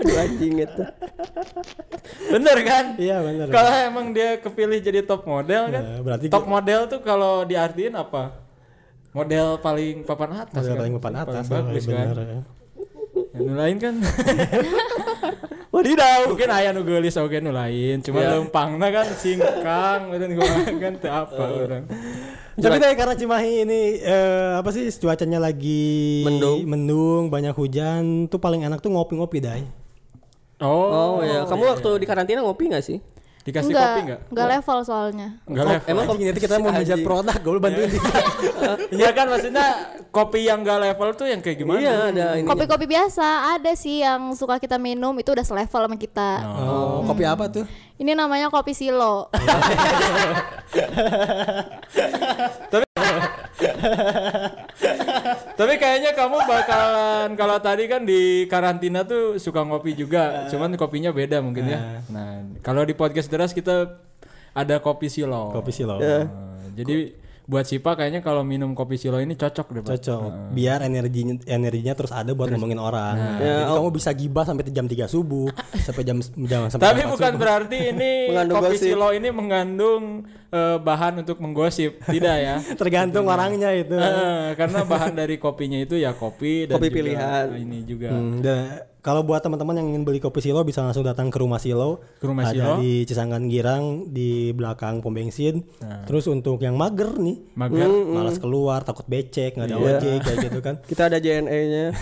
B: Aduh anjing itu.
D: bener kan
C: Iya benar.
D: kalau emang dia kepilih jadi top model kan
C: Nah, berarti
D: top model tuh kalau diartiin apa model paling papan atas
C: model
D: kan?
C: paling papan atas
D: paling bagus kan
C: benar. ya.
D: yang nu lain kan Wadidaw Mungkin ayah nu geulis oge nu lain Cuma lempangna kan singkang Mungkin gua kan teu apa orang
C: Tapi deh karena Cimahi ini eh, apa sih cuacanya lagi
B: Mendung.
C: mendung, banyak hujan, tuh paling enak tuh ngopi-ngopi dai.
B: iya.
D: Oh,
B: Oh, iya. Kamu waktu di karantina ngopi enggak sih?
D: Di Dikasih
A: Enggak,
D: kopi enggak?
A: enggak level soalnya.
D: Enggak level.
B: Oh,
C: Emang kalau nanti kita mau
B: Anjing.
C: ngejar produk, gue bantuin.
D: Iya kan maksudnya kopi yang enggak level tuh yang kayak gimana?
B: Iya ada ini.
A: Kopi-kopi biasa ada sih yang suka kita minum itu udah selevel sama kita.
C: Oh, kopi apa tuh?
A: Ini namanya kopi silo.
D: Tapi kayaknya kamu bakalan kalau tadi kan di karantina tuh suka ngopi juga, cuman kopinya beda mungkin ya. Nah, kalau di podcast deras kita ada kopi silo.
C: Kopi silo. Iya.
D: Nah, jadi buat Sipa kayaknya kalau minum kopi silo ini cocok deh, Pak.
C: Cocok. Biar energinya energinya terus ada buat ngomongin orang.
D: Nah,
C: Jadi kamu bisa gibah sampai jam 3 subuh, sampai jam jam sampai
D: Tapi
C: jam empat
D: bukan
C: subuh.
D: berarti ini
B: Mengandung
D: kopi
B: gosip.
D: silo ini mengandung eh, bahan untuk menggosip, tidak ya?
C: tergantung orangnya itu.
D: Eh, karena bahan dari kopinya itu ya kopi dan
B: Kopi
D: juga
B: pilihan.
D: ini juga.
C: Hmm, dan kalau buat teman-teman yang ingin beli kopi Silo bisa langsung datang ke rumah Silo.
D: Ke rumah
C: ada
D: Silo.
C: di Cisangkan Girang di belakang pom bensin.
D: Nah.
C: Terus untuk yang mager nih,
D: Mager.
C: malas keluar, takut becek, nggak ada
B: Iya.
C: ojek kayak gitu kan.
B: Kita ada JNE-nya.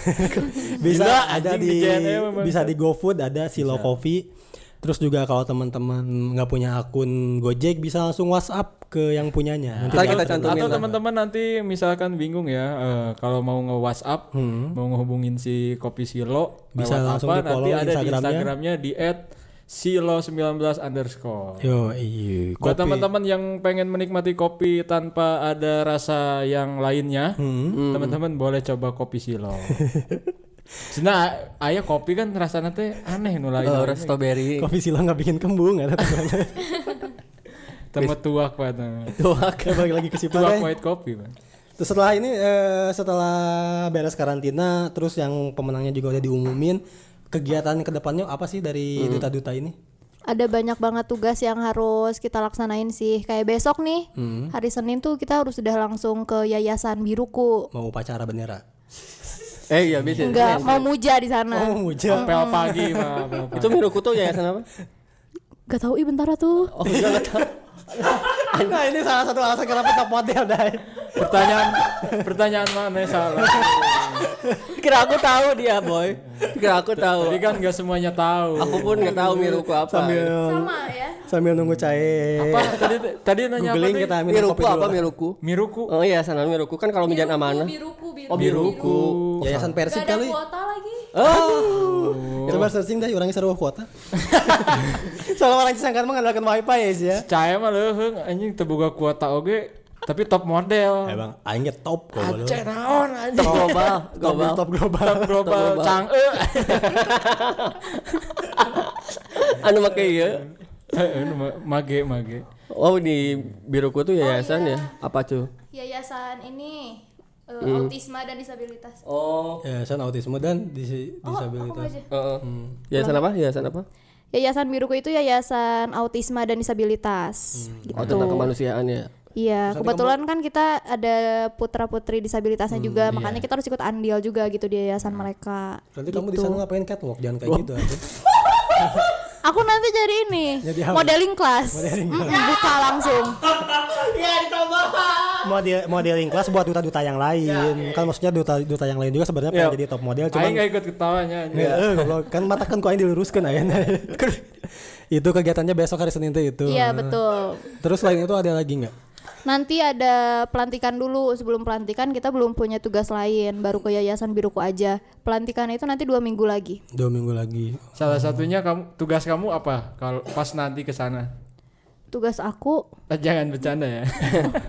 C: Bisa
D: Gila,
C: ada
D: anjing,
C: di
D: di JNE memang.
C: bisa di GoFood ada Silo Coffee. Terus juga kalau teman-teman nggak punya akun Gojek bisa langsung WhatsApp ke yang punyanya. Nanti
B: Ntar
C: dia-
B: kita cantumin
D: Atau
B: lah.
D: teman-teman nanti misalkan bingung ya eh, kalau mau nge WhatsApp, mau ngehubungin si Kopi Silo
C: Bisa
D: lewat
C: langsung
D: apa,
C: di-follow
D: nanti ada di
C: Instagramnya.
D: Instagramnya di @silo19 underscore.
C: Yo, iya.
D: Buat
C: Kopi.
D: teman-teman yang pengen menikmati kopi tanpa ada rasa yang lainnya, teman-teman boleh coba kopi Silo. Cina, ayah kopi kan rasanya teh aneh nu lain.
B: Oh, orang strawberry.
C: Kopi Silo nggak bikin kembung, ada teman
D: Temu tuak banget.
C: Balik lagi ke Silo. deh.
D: Tuak white kopi, Bang.
C: Terus setelah ini eh, setelah beres karantina, terus yang pemenangnya juga udah diumumin, kegiatan kedepannya apa sih dari
D: Hmm.
C: duta-duta ini?
A: ada banyak banget tugas yang harus kita laksanain sih. Kayak besok nih, hari Senin tuh kita harus udah langsung ke Yayasan Biruku.
C: Mau upacara bendera?
B: Eh iya bisa.
A: Enggak mau muja di sana.
C: Oh, muja.
D: Apel pagi, Bang. apel pagi.
B: Itu Mirokuto yayasan apa?
A: Gak tahu ih bentar ah tuh.
B: Oh, enggak enggak tahu.
C: nah ini salah satu alasan kenapa top model dai.
D: pertanyaan pertanyaan mana yang salah
B: Kira aku tahu dia, boy. Kira aku tahu.
D: tadi kan nggak semuanya tahu
B: Aku pun enggak tahu Miroku apa.
C: Sambil
A: Sama ya.
C: sambil nunggu cair.
D: apa tadi tadi nanya
C: Googling
D: apa tadi?
C: kita minum kopi
B: Miroku
C: dulu.
B: apa Miroku?
D: miruku
B: Oh iya, sana Miroku kan kalau mijan amanah.
A: Biruku, biruku.
B: Oh, Miroku.
C: Yayasan Persib kali.
A: kuota lagi.
B: Oh.
C: Coba searching deh orangnya seru kuota. Soalnya orang Cisangkan mah mengandalkan wifi ya sih ya.
D: caya mah leuheung anjing terbuka kuota oge tapi top model
C: Emang aingnya top kok lu.
D: Aceh naon anjing
B: Top global,
C: Top
B: global.
C: top global.
D: top global eh.
B: global.
D: cange
B: Anu make ieu.
D: Eh, mage mage
B: Oh di Biroku tuh yayasan ya? Apa tuh?
A: Yayasan ini eh, autisma dan disabilitas.
B: Oh.
C: Yayasan autisme dan disi-
A: Oh,
C: disabilitas.
B: Yayasan apa? Yayasan apa?
A: Yayasan Biruku itu yayasan autisma dan disabilitas. Gitu.
B: Oh, tentang kemanusiaan ya.
A: Iya, kebetulan kan kita ada putra-putri disabilitasnya juga, makanya kita harus ikut andil juga gitu di yayasan mereka.
C: Nanti kamu di sana ngapain catwalk? Jangan kayak gitu aja.
A: Aku nanti jadi ini
C: Jadi apa?
A: modeling kelas. Mm-mm, buka langsung.
C: Model modeling kelas buat duta-duta yang
A: Ya,
C: lain. Kan maksudnya duta-duta yang lain juga sebenarnya pengen jadi top model cuman
D: aing nggak ikut ketawanya anjing.
C: Ya, eh, goblok. kan mata kan kok yang diluruskan ayeuna. itu kegiatannya besok hari Senin teh itu.
A: Iya, betul.
C: Terus selain itu ada lagi nggak?
A: Nanti ada pelantikan dulu. Sebelum pelantikan kita belum punya tugas lain, baru ke yayasan biruku aja. Pelantikan itu nanti dua minggu lagi.
C: Dua minggu lagi.
D: salah satunya kamu tugas kamu apa kalau pas nanti ke sana
A: Tugas aku,
D: Eh, jangan bercanda ya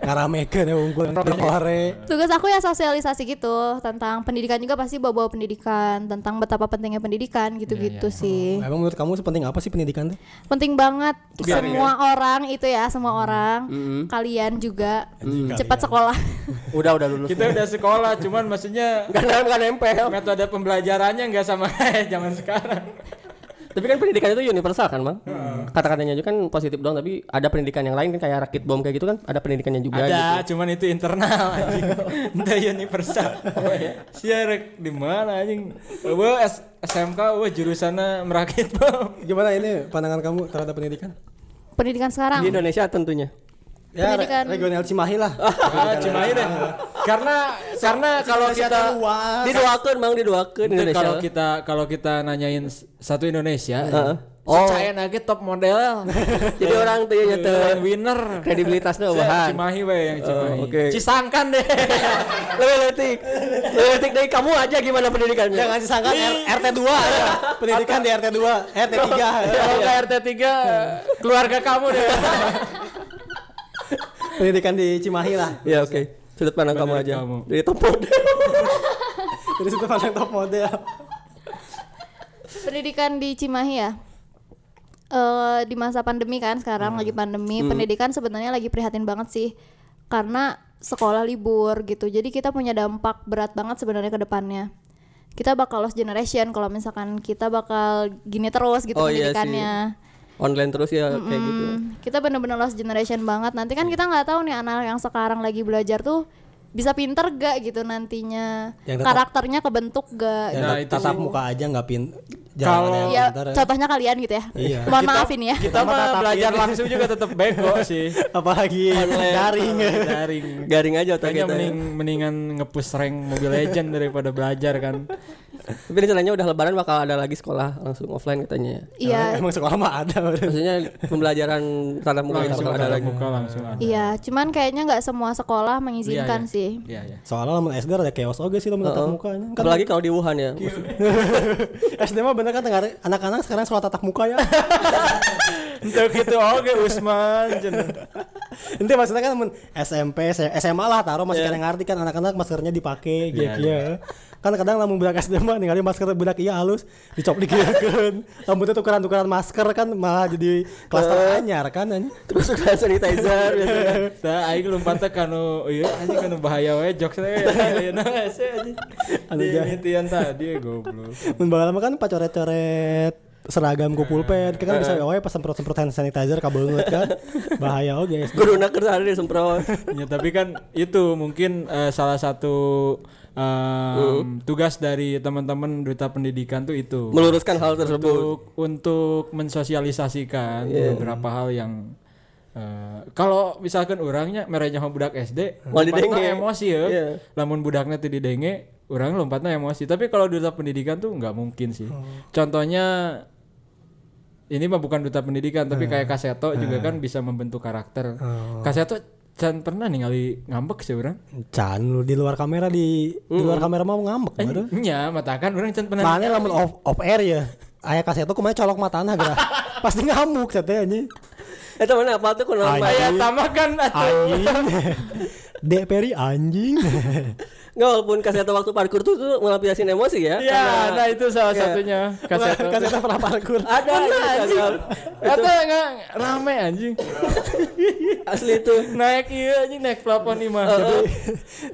C: Ngaramekeun ya unggul kore.
A: tugas aku ya sosialisasi gitu tentang pendidikan juga pasti bawa-bawa pendidikan, tentang betapa pentingnya pendidikan gitu-gitu sih.
C: Emang menurut kamu sepenting apa sih pendidikan teh?
A: penting banget semua orang itu ya semua orang kalian juga cepat sekolah
B: Udah udah lulus.
D: kita udah sekolah cuman maksudnya
B: Karena kan nempel.
D: metode pembelajarannya nggak sama zaman sekarang
B: Tapi kan pendidikan itu universal kan, Bang? Kata-katanya juga kan positif dong, tapi ada pendidikan yang lain kan kayak rakit bom kayak gitu kan, ada pendidikannya juga gitu.
D: Ada, cuman itu internal anjing. Itu universal. Siarek di mana anjing? Eh, Gue SMK gue jurusannya merakit bom.
C: Gimana ini pandangan kamu terhadap pendidikan?
A: pendidikan sekarang
B: Di Indonesia tentunya.
C: Ya, re-
A: Pendidikan-
C: regional Cimahi lah.
D: Ah, Cimahi deh. Karena karena kalau kita
C: luas.
B: Didoakeun, Bang, didoakeun
D: Itu
B: Indonesia.
D: kalau kita kalau kita nanyain s- satu Indonesia,
B: Oh.
D: Caya nage top model.
B: Jadi orang tuh ya
D: Iya,
B: tuh
D: Yang winner.
B: kredibilitasnya
D: Saya
B: bahan.
D: Cimahi we yang Cimahi.
B: oke.
D: Cisangkan deh.
B: Lebih letik. Lebih letik dari kamu aja gimana pendidikannya.
C: Jangan disangka R- RT 2 ya. Pendidikan di RT 2, RT
B: Iya,
C: 3.
D: Kalau ke RT 3 keluarga kamu deh.
C: Pendidikan di Cimahi lah.
B: Ya oke. Sudut pandang kamu
D: Menurut
B: aja.
D: kamu.
B: Dari top model.
C: Jadi situ pandang top model.
A: pendidikan di Cimahi ya Eh di masa pandemi kan sekarang lagi pandemi
B: Hmm.
A: pendidikan sebenarnya lagi prihatin banget sih karena sekolah libur gitu jadi kita punya dampak berat banget sebenarnya ke depannya kita bakal lost generation kalau misalkan kita bakal gini terus gitu
B: Oh, iya sih.
A: pendidikannya
B: Online terus ya kayak gitu.
A: Hmm, kita bener-bener lost generation banget nanti kan kita nggak tahu nih anak yang sekarang lagi belajar tuh bisa pinter gak gitu nantinya
C: Yang tetap-
A: karakternya kebentuk gak gitu.
C: Ya,
D: Nah,
C: tat-
D: itu
C: tatap
D: sih.
C: muka aja nggak pin.
D: Kalau-
C: ada yang
A: ya
C: pintar ya.
A: contohnya kalian gitu ya
C: Iya.
A: mohon maaf ini ya
D: Kita mah
C: tatapin.
D: belajar langsung juga tetap bego sih.
C: Apalagi daring.
D: Daring.
B: Garing aja otak kita.
D: Kayaknya
B: ya.
D: mending, mendingan ngepush rank Mobile Legend daripada belajar kan.
B: Tapi rencananya udah lebaran bakal ada lagi sekolah langsung offline katanya. ya.
A: iya
C: Emang- Emang sekolah mah ada.
B: Maksudnya pembelajaran tatap muka itu
D: Langsung
B: bakal ada
D: ada
B: lagi.
D: muka langsung ada.
A: iya cuman kayaknya nggak semua sekolah mengizinkan
D: Iya, iya.
A: sih
D: Iya, iya.
C: Soalnya lamun SD ada chaos oge sih lamun tatap mukanya. Kan
B: Apalagi kalau di Wuhan ya.
C: SD mah bener kan tengah anak-anak sekarang sekolah tatap muka ya.
D: Untuk itu oke Usman. Jen.
C: Ente maksudnya kan mun SMP, S- SMA lah taruh masih kadang ngerti kan anak-anak maskernya dipakai gitu ya. Kan kadang lamun budak SD mah ninggalin masker budak iya halus dicop digeurkeun. Rambutnya tukeran-tukeran masker kan malah jadi klaster anyar kan anjing.
B: Terus suka sanitizer biasanya.
D: Nah, aing lompatnya kanu iya anjing kanu bahaya we jokes Iya, we. Ayeuna geus nah, anjing. Iya,
C: Anu
D: Di
C: jah.
D: mitian tadi goblok.
C: Mun baheula mah kan pacoret-coret seragam ku pulpen kan bisa wae pas semprot-semprot hand sanitizer kabeungeut kan. Bahaya oge.
B: Corona kerja hari disemprot.
D: Ya, tapi kan itu mungkin eh, salah satu em,
C: Uh.
D: tugas dari teman-teman duta pendidikan tuh itu
B: Meluruskan hal tersebut.
D: untuk untuk mensosialisasikan
B: Iya.
D: beberapa hal yang eh, kalau misalkan orangnya merenya sama budak SD,
B: Mau
D: lompatna
B: didenge.
D: emosi ya.
B: Iya.
D: Lamun budaknya tuh didenge, orang lompatnya emosi. Tapi kalau duta pendidikan tuh nggak mungkin sih.
B: Hmm.
D: Contohnya ini mah bukan duta pendidikan, tapi
B: Hmm.
D: kayak Kaseto juga kan bisa membentuk karakter.
B: Oh.
D: Kaseto can pernah ningali ngambek sih orang.
C: Can lu di luar kamera di di luar kamera mah ngambek baru.
D: Nya, Iya, matakan orang can pernah.
C: Mana lamun off, off air ya. Aya kaset tuh kemana colok matana gerah. Pasti ngamuk satenya anjing.
B: Itu mana Eh, apa tuh corona?
C: Ay.
D: Aya tamakan atuh.
C: anjing Dek Peri anjing
B: Nggak walaupun kasih atau waktu parkur tuh, tuh ngelampiasin emosi ya.
D: Ya,
B: Karena-
D: nah itu salah
B: Iya.
D: satunya Kaseto.
C: kaseta pernah parkur
B: ada di Instagram.
D: Atau enggak rame anjing.
B: asli itu.
D: naik iya anjing naik plafon imah.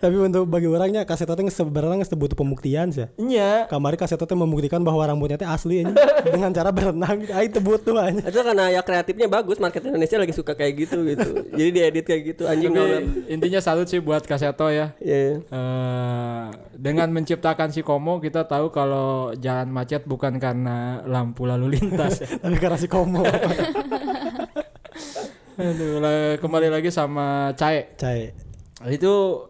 C: tapi untuk bagi orangnya kaseta teh sebenarnya geus teu butuh pembuktian sih
D: Iya.
C: kamari kaseta teh membuktikan bahwa rambutnya teh asli anjing dengan cara berenang ai teu butuh anjing
B: Itu karena ya kreatifnya bagus, market Indonesia lagi suka kayak gitu gitu. Jadi diedit kayak gitu anjing
D: Tapi
B: kalau-
D: intinya salut sih buat Kaseto ya.
B: Iya. iya.
D: Eh, dengan menciptakan si Komo kita tahu kalau jalan macet bukan karena lampu lalu lintas. ya.
C: tapi karena si komo
D: Aduh, lah, kembali lagi sama Cae.
C: cai
D: Itu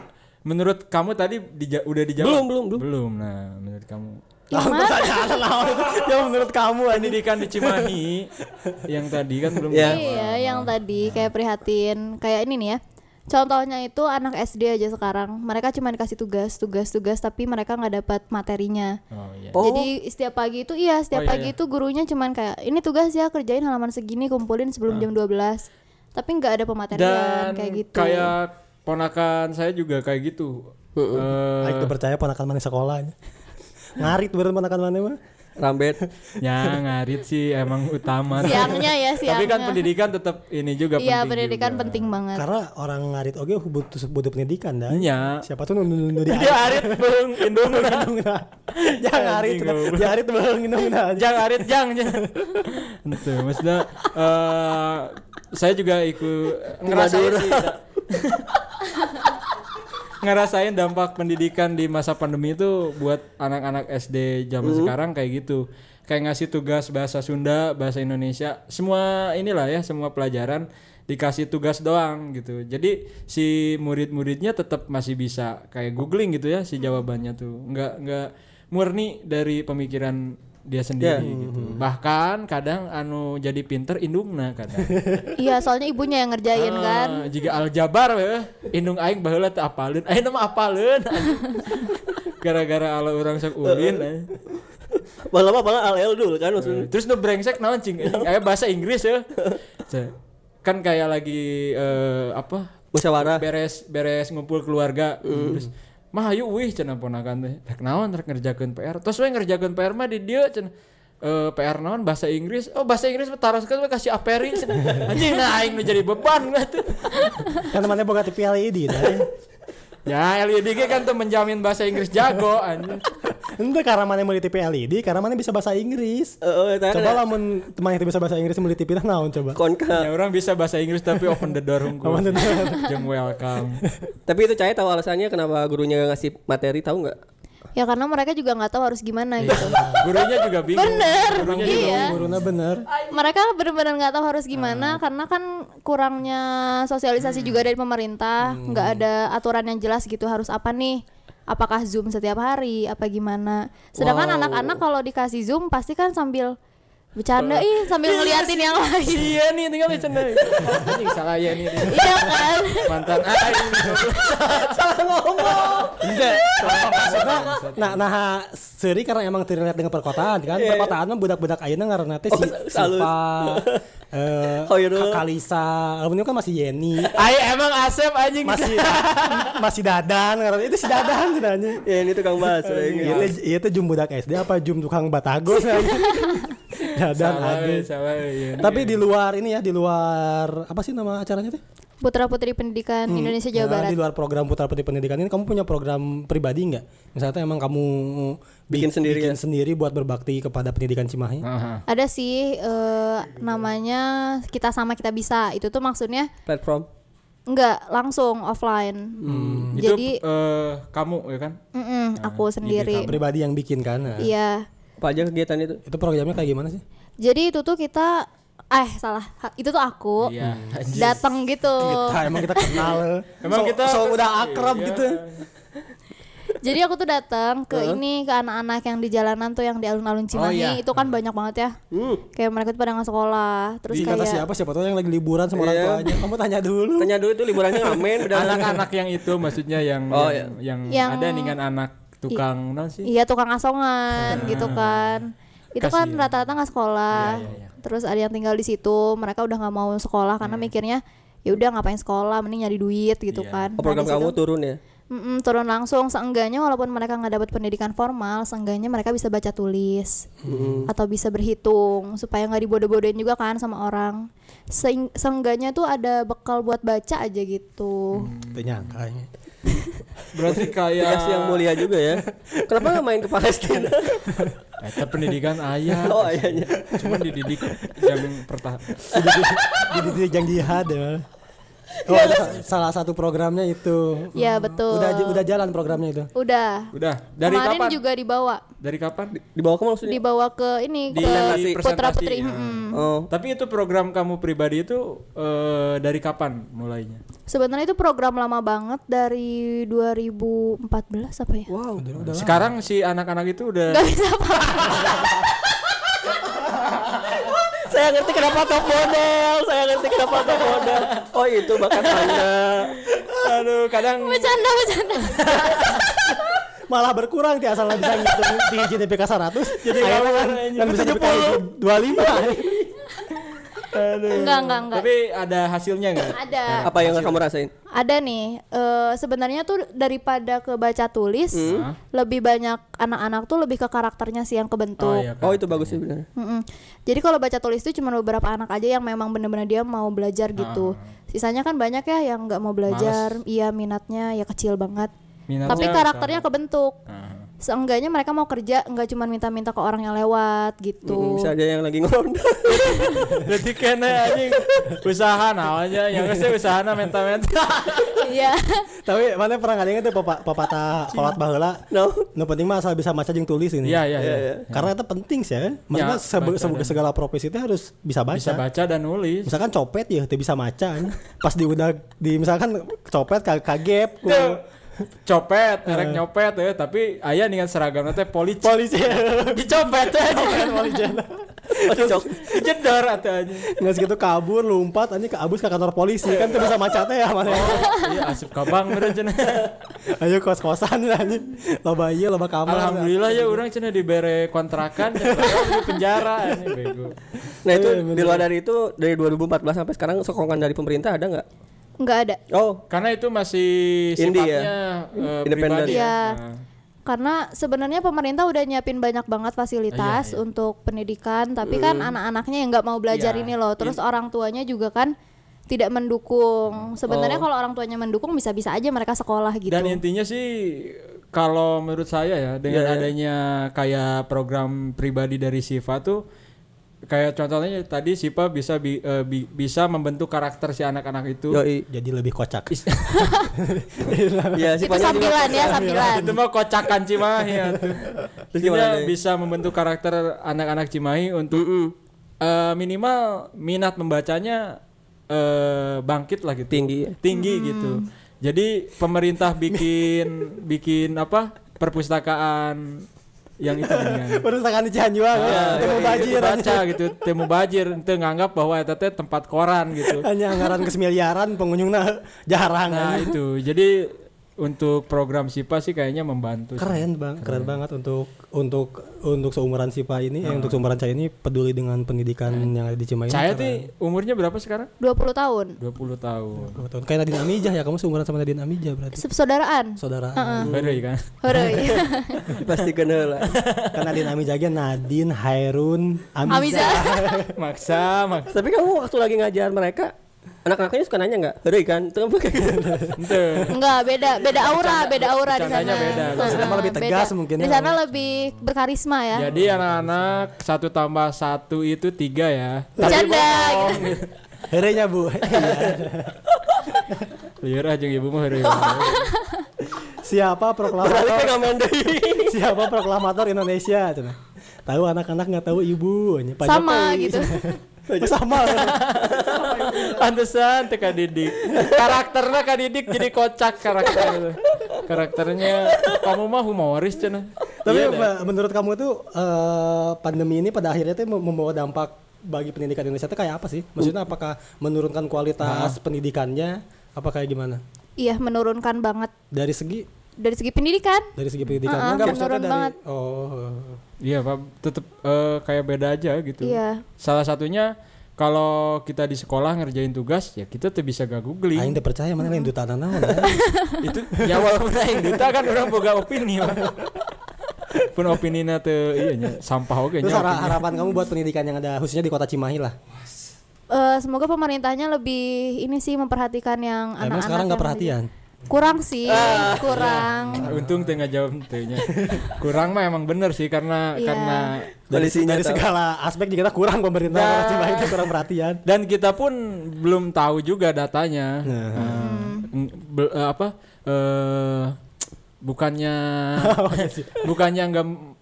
D: menurut kamu tadi dija- udah dijawab?
B: Belum, belum, belum.
D: Belum. Nah, menurut kamu
C: Lawan pertanyaan lawan ya menurut kamu anjing
D: pendidikan di Cimahi yang tadi kan belum
B: Ya.
A: iya yang tadi kayak prihatin kayak ini nih ya contohnya itu anak SD aja sekarang mereka cuma dikasih tugas tugas tugas tapi mereka nggak dapat materinya
D: Oh iya.
B: Oh.
A: Jadi setiap pagi itu iya, setiap
D: Oh, iya,
A: pagi itu gurunya cuman kayak ini tugas ya kerjain halaman segini kumpulin sebelum jam 12. Tapi nggak ada pematerian
D: Dan
A: kayak gitu.
D: kayak ponakan saya juga kayak gitu. Eh,
C: Aik teu percaya ponakan mana sekolahnya ngarit beureun ponakan mana mah
B: Rambet.
D: ya ngarit sih emang utama.
A: siangnya ya, siangnya.
D: Tapi kan pendidikan tetap ini juga
A: Iya,
D: penting.
A: pendidikan penting banget.
C: karena orang ngarit oge butuh butuh pendidikan dah
D: Iya.
C: siapa tuh nundu-nundu di
D: Dia ngarit belum indung.
C: Nung na. Jang arit na. Jang arit beulang nung na.
D: Jang ngarit jang. jang. Itu maksudnya eh, saya juga ikut ngerasain sih. da- ngerasain dampak pendidikan di masa pandemi itu buat anak-anak SD zaman sekarang kayak gitu kayak ngasih tugas bahasa Sunda bahasa Indonesia semua inilah ya semua pelajaran dikasih tugas doang gitu jadi si murid-muridnya tetap masih bisa kayak googling gitu ya si jawabannya tuh nggak nggak murni dari pemikiran dia sendiri gitu. Bahkan kadang anu jadi pinter indungna kadang.
A: iya soalnya ibunya yang ngerjain kan
D: Ah, Jika aljabar weh, indung aing baheula teu apaleun. Aing mah apaleun. anjing. Gara-gara ala orang sok ulin. anjing.
B: Malah apa malah al dulu kan maksudnya.
D: Terus nu brengsek naon cing? Kayak bahasa Inggris ya. Ce- Kan kayak lagi eh, apa?
B: Musyawarah.
D: beres beres ngumpul keluarga terus mah ayo wih cenah ponakan teh rek naon rek ngerjakeun PR terus we ngerjakeun PR mah di dieu cenah Eh, PR naon bahasa Inggris oh bahasa Inggris mah taroskeun we kasih aperi cenah anjing nah aing nu jadi beban we tuh
C: Kan temannya boga tipe LED dah.
D: ya LIDG kan tuh menjamin bahasa Inggris jago anjing
C: Ente karena mana meuli tipe LED, karena mana bisa bahasa Inggris.
B: Heeh, eta
C: Coba
B: kan
C: lamun temannya bisa bahasa Inggris meuli tipe nah naon coba.
B: konka.
D: ya orang bisa bahasa Inggris tapi open the door unggul
C: Open the door.
D: jeung welcome
B: Tapi itu Cahaya tahu alasannya kenapa gurunya ngasih materi tahu nggak?
A: ya karena mereka juga nggak tahu harus gimana gitu
D: gurunya juga Iya. bingung
A: bener
D: gurunya juga
A: iya
C: Guruna bener.
A: mereka benar-benar nggak tahu harus
D: Ah.
A: gimana karena kan kurangnya sosialisasi
D: Hmm.
A: juga dari pemerintah nggak ada aturan yang jelas gitu harus apa nih apakah zoom setiap hari apa gimana sedangkan anak-anak kalau dikasih zoom pasti kan sambil bercanda ih sambil ngeliatin yang lain
D: iya nih tinggal di cenah anjing salah ya nih
A: iya kan
D: mantan aing
C: Nah, nah seri karena emang terlihat dengan perkotaan kan. Perkotaan mah budak-budak ayeuna ngaranna teh si
B: salus.
C: Siva, eh
B: Hoirul.
C: Kalisa, lamun itu kan masih Yeni,
D: Ayo emang Asep anjing
C: masih masih Dadan ngaranna. Itu si Dadan sebenarnya.
B: Ya ini tukang bahasa
C: Iya
B: Inggris.
C: teh iya teh jum budak SD apa jum tukang batagor Dadan
D: Salah,
C: ada.
D: salah, iya.
C: Tapi di luar ini ya, di luar apa sih nama acaranya teh?
A: putra putri pendidikan
D: Hmm.
A: Indonesia Jawa
C: Nah,
A: Barat
C: Di luar program putra putri pendidikan ini kamu punya program pribadi nggak? Misalnya emang kamu bi-
B: Bikin sendiri
C: bikin sendiri buat berbakti kepada pendidikan Cimahi.
A: ada sih eh, namanya kita sama kita bisa itu tuh maksudnya
B: Platform.
A: nggak langsung offline
D: Itu
A: jadi
D: eh, kamu ya kan?
A: mm-mm, aku sendiri
C: Pribadi yang bikin kan. Nah,
A: Iya.
B: Apa aja kegiatan itu?
C: Itu programnya kayak gimana sih?
A: Jadi itu tuh kita eh salah. Ha- Itu tuh aku
D: Iya.
A: datang gitu.
C: Nah, emang kita kenal.
D: Emang
C: So-
D: kita-
C: so udah akrab
D: Iya.
C: gitu.
A: Jadi aku tuh datang ke ini ke anak-anak yang di jalanan tuh yang di alun-alun Cimahi
D: iya.
A: itu kan banyak banget ya. Kayak mereka tuh pada nggak sekolah, terus
C: Di kata
A: kayak
C: siapa siapa tuh yang lagi liburan sama orang
B: Iya.
C: tuanya. Kamu tanya dulu.
B: Tanya dulu itu liburannya ngamen udah
D: Anak-anak yang itu maksudnya yang
B: Oh,
D: yang, yang
A: Yang-
D: ada dengan anak tukang non sih.
A: iya tukang asongan gitu kan. Itu kan rata-rata nggak sekolah. Terus ada yang tinggal di situ, mereka udah nggak mau sekolah karena mikirnya ya udah ngapain sekolah, mending nyari duit gitu kan.
B: Oh,
A: Nah,
B: program
A: di situ-
B: kamu turun ya.
A: Mm-mm, turun langsung seenggaknya walaupun mereka nggak dapat pendidikan formal seenggaknya mereka bisa baca tulis atau bisa berhitung supaya nggak dibodoh-bodohin juga kan sama orang Seing- seenggaknya tuh ada bekal buat baca aja gitu
C: Tanya kayaknya.
D: Berarti kayak
B: Dikasih yang mulia juga ya. Iya. Kenapa nggak main ke Palestina?
D: Eta Eh, pendidikan ayah.
B: oh ayahnya.
D: Cuman dididik jam pertama.
C: Jadi yang jihad
D: Iya,
C: ya. Oh, ada sa- salah satu programnya itu.
D: Iya,
A: ya betul
C: Udah udah jalan programnya itu.
A: Udah.
D: Udah, dari
A: kemarin
D: kapan?
A: juga dibawa
D: Dari kapan?
B: Dibawa ke mana maksudnya?
A: dibawa ke ini
D: Di presentasi.
A: ke putra putri
D: Presentasi, ya.
B: Oh.
D: Tapi itu program kamu pribadi itu eh, dari kapan mulainya?
A: sebenarnya itu program lama banget dari 2014 apa ya
B: Wow.
D: Sekarang si anak-anak itu udah
A: nggak bisa apa
B: Saya ngerti kenapa top model. Saya ngerti kenapa top model. Oh itu bakat Anda.
D: aduh kadang
A: bercanda bercanda
C: malah berkurang tiap salah bisa ngitung di JDPK 100 jadi
D: nggak Iya.
C: kan
D: bener, anjing.
C: dan bisa JDPK 25
A: enggak enggak enggak
D: tapi ada hasilnya nggak?
A: ada
B: Apa yang kamu rasain?
A: Ada nih, eh, sebenarnya tuh daripada ke baca tulis,
D: Hmm.
A: lebih banyak anak-anak tuh lebih ke karakternya sih yang kebentuk.
D: Oh iya
B: Oh
D: kan.
B: itu bagus sih benar.
A: Mm-mm. Jadi kalau baca tulis tuh cuma beberapa anak aja yang memang bener-bener dia mau belajar gitu. Sisanya kan banyak ya yang nggak mau belajar, iya minatnya ya kecil banget.
D: Minatnya
A: Tapi karakternya kebentuk. Seenggaknya mereka mau kerja nggak cuma minta-minta ke orang yang lewat
B: Hmm,
A: gitu.
B: bisa aja yang lagi ngonda.
D: Jadi kena anjing usaha namanya yang pasti usaha nah na menta-menta.
A: Iya.
C: tapi mana pernah nggak itu papa papatah kolat baheula
B: No.
C: nu penting mah asal bisa maca jeung tulis ini
D: Iya iya iya.
C: karena itu penting sih ya maksudnya
D: Ya,
C: sebe-
D: baca
C: sebe- segala profesi itu harus bisa baca
D: Bisa baca dan nulis.
C: misalkan kan? copet ya teu bisa maca anjing. pas di udah di misalkan copet ka kagep ku
D: copet, merek nyopet ya, tapi ayah dengan seragamnya teh polisi. Polisi. Dicopet eh. teh. Jedor atau aja.
C: Nggak segitu kabur, lompat, anjing ke abus ke kantor polisi kan tuh bisa macatnya ya mana.
D: Iya asup kabang berencana.
C: Ayo kos-kosan anjing. Loba ieu loba kamar.
D: Alhamdulillah ya orang cina dibere kontrakan cenah orang di penjara anjing, bego.
B: Nah itu
C: Iya, bener.
B: di luar dari itu dari 2014 sampai sekarang sokongan dari pemerintah ada nggak?
A: nggak ada
B: Oh,
D: Karena itu masih
B: Indie ya?
D: sifatnya eh,
B: Independen.
D: pribadi.
A: Iya.
D: Nah.
A: karena sebenarnya pemerintah udah nyiapin banyak banget fasilitas untuk pendidikan tapi kan anak-anaknya yang nggak mau belajar
D: Iya.
A: ini loh terus orang tuanya juga kan tidak mendukung sebenarnya kalau orang tuanya mendukung bisa-bisa aja mereka sekolah gitu
D: Dan intinya sih kalau menurut saya ya
B: Iya,
D: dengan adanya kayak program pribadi dari Siva tuh kayak contohnya tadi Siva bisa bi- eh, bi- bisa membentuk karakter si anak-anak itu.
B: yoi.
C: Jadi lebih kocak.
B: Ya,
A: itu
B: sifatnya juga-
A: sambilan ya sambilan
D: Itu mah kocakan Cimahi ya tuh.
B: Terus gimana
D: Intinya
B: nih?
D: bisa membentuk karakter anak-anak Cimahi untuk eh, minimal minat membacanya eh, bangkit lah gitu.
B: Tinggi ya.
D: tinggi gitu. Jadi pemerintah bikin bikin apa perpustakaan yang itu dengan
C: Perusahaan di Cianjuang
D: Iya,
C: ya, ketemu bajir anjing.
D: baca gitu temu bajir itu nganggap bahwa itu teh tempat koran gitu
C: Hanya anggaran kesemiliaran pengunjungnya jarang.
D: nah itu jadi untuk program SIPA sih kayaknya membantu
C: keren bang keren, banget untuk untuk untuk seumuran Sipa ini eh, untuk seumuran saya ini peduli dengan pendidikan yang ada di Cimahi
D: Hmm. saya tuh umurnya berapa sekarang
A: 20 tahun
D: 20 tahun
C: Dua tahun kayak Nadine Amijah ya kamu seumuran sama Nadine Amijah berarti
A: saudaraan
C: saudara
D: baru ya kan
A: Hore.
B: Pasti kenal lah.
C: kan Nadine Amijah ge Nadine Hairun Amijah
A: Amiza.
D: maksa maksa
B: Tapi kamu waktu lagi ngajar mereka, anak-anaknya suka nanya nggak? Heri kan, itu kan pakai gitu.
D: Ente.
A: Enggak, beda beda aura, beda aura di sana.
D: bercandanya beda. Di
C: sana mah lebih
A: Beda.
C: tegas mungkin
A: Di
C: ya.
A: sana lebih berkarisma ya.
D: jadi anak-anak satu tambah satu itu tiga ya
A: Bercanda.
C: Herenya bu
D: Iya. liur aja Iya ibu mah heureuy.
C: siapa
B: Balik
C: proklamator
B: nggak main deh.
C: siapa proklamator Indonesia cenah. tahu anak-anak nggak tahu ibu anjing. Pak
A: Sama
C: Jokowi.
A: gitu.
C: Oh, sama
D: Pantesan teka didik Karakternya kak didik jadi kocak karakter Karakternya Kamu mah humoris cina
C: tapi Mbak, menurut kamu tuh eh, pandemi ini pada akhirnya tuh mem- membawa dampak bagi pendidikan Indonesia tuh kayak apa sih maksudnya apakah menurunkan kualitas pendidikannya apa kayak gimana
A: Iya, menurunkan banget
C: dari segi
A: dari segi pendidikan.
C: dari segi pendidikan
A: Ah, ah,
C: Enggak,
A: menurun banget.
C: oh
D: Iya pak tetep eh, kayak beda aja gitu
A: Iya.
D: Salah satunya kalau kita di sekolah ngerjain tugas ya kita tuh bisa
C: aing
D: gak googling
C: teu percaya mana lain duta naon eh.
D: itu ya walaupun aing duta kan orang boga opini Pak. pun opini na teu iya nya sampah oke
C: terus
D: nya
C: hara- harapan kamu buat pendidikan yang ada khususnya di kota Cimahi lah
A: Eh, semoga pemerintahnya lebih ini sih memperhatikan yang anak-anak.
C: emang sekarang nggak
A: yang-
C: perhatian
A: Kurang sih, kurang.
D: opini. untung teu ngajawab teu nya kurang mah emang bener sih karena
A: Iya.
D: karena
C: dari,
B: Kondisinya
C: dari
B: tahu.
C: segala aspek juga kita kurang pemerintah
D: Nah.
C: kota Cimahi itu kurang perhatian
D: dan kita pun belum tahu juga datanya
C: Nah.
D: Eh, ng- be- eh, apa eh bukannya Oh, bukannya nggak m-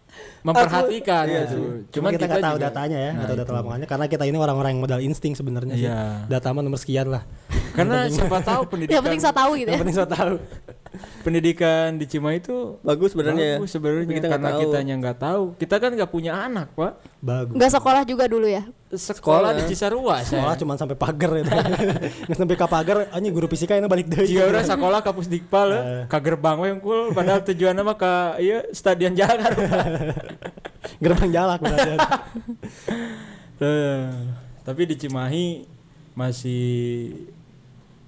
D: memperhatikan gitu.
C: Iya, Cuma
D: cuman
C: kita
D: kita,
C: nggak tahu
D: juga-
C: datanya ya, nggak tahu data lapangannya karena kita ini orang-orang yang modal insting sebenarnya sih.
D: Iya.
C: Data mah nomor sekian lah.
D: karena siapa
A: Yang
D: tahu pendidikan
A: Iya, penting saya tahu gitu
C: Yang
A: ya.
C: penting saya tahu.
D: pendidikan di Cimahi itu
B: Bagus sebenarnya. ya.
D: bagus sebenarnya
B: Kita nggak
D: karena
B: tahu.
D: kita yang nggak tahu kita kan nggak punya anak pak
C: Bagus.
A: Enggak sekolah juga dulu ya.
D: sekolah,
B: Sekolah.
D: di Cisarua
C: Sekolah
D: saya
C: cuma sampai pagar itu. Nggak sampai ke pagar, anjing guru fisika ini balik deui.
D: Jika Iya, udah sekolah kapus dikpal eh,
B: Nah.
D: ke gerbang we unggul padahal tujuannya mah ke iya stadion jalan
C: Gerbang jalak berarti.
D: Eh, tapi di Cimahi masih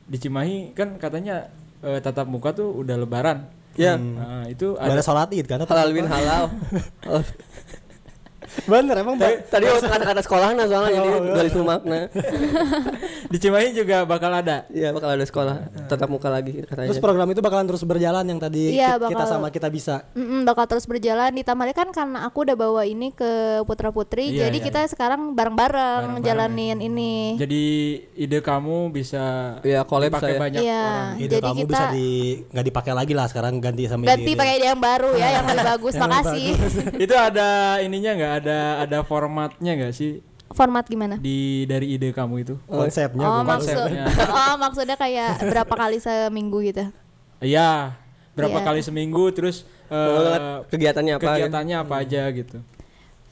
D: di Cimahi kan katanya eh, tatap muka tuh udah lebaran.
B: Ya,
D: Nah, itu
C: Ada
D: ada
C: sholat id kan?
B: halal bin halal. Oh,
C: Bener emang ba-
B: Tadi waktu kata-kata sekolah nah soalnya jadi
D: Oh, iya.
B: dualisme makna.
D: di Cimahi juga bakal ada.
B: Iya, bakal ada sekolah tatap muka lagi katanya.
C: Terus program itu bakalan terus berjalan yang tadi
A: Iya,
C: ki- kita
A: bakal.
C: sama kita bisa.
A: Mm-mm, bakal terus berjalan ditambah lagi kan karena aku udah bawa ini ke putra putri
D: Iya,
A: jadi
D: iya,
A: kita sekarang bareng-bareng jalanin ini
D: Jadi ide kamu bisa
B: Iya, collab
D: dipakai
B: saya.
D: banyak
A: Iya,
D: orang.
C: Ide
A: jadi
C: kamu
A: kita
C: bisa di nggak dipakai lagi lah sekarang ganti sama
A: ganti
C: ide-ide.
A: pakai ide yang baru ya yang lebih bagus makasih
D: itu ada ininya nggak ada ada formatnya nggak sih
A: format gimana
D: di dari ide kamu itu?
C: konsepnya.
A: oh
C: gua-
A: maksud
D: konsepnya.
A: oh maksudnya kayak berapa kali seminggu gitu
D: Iya. berapa
A: Iya.
D: kali seminggu terus eh,
B: Ngeliat kegiatannya apa gitu.
D: kegiatannya apa aja gitu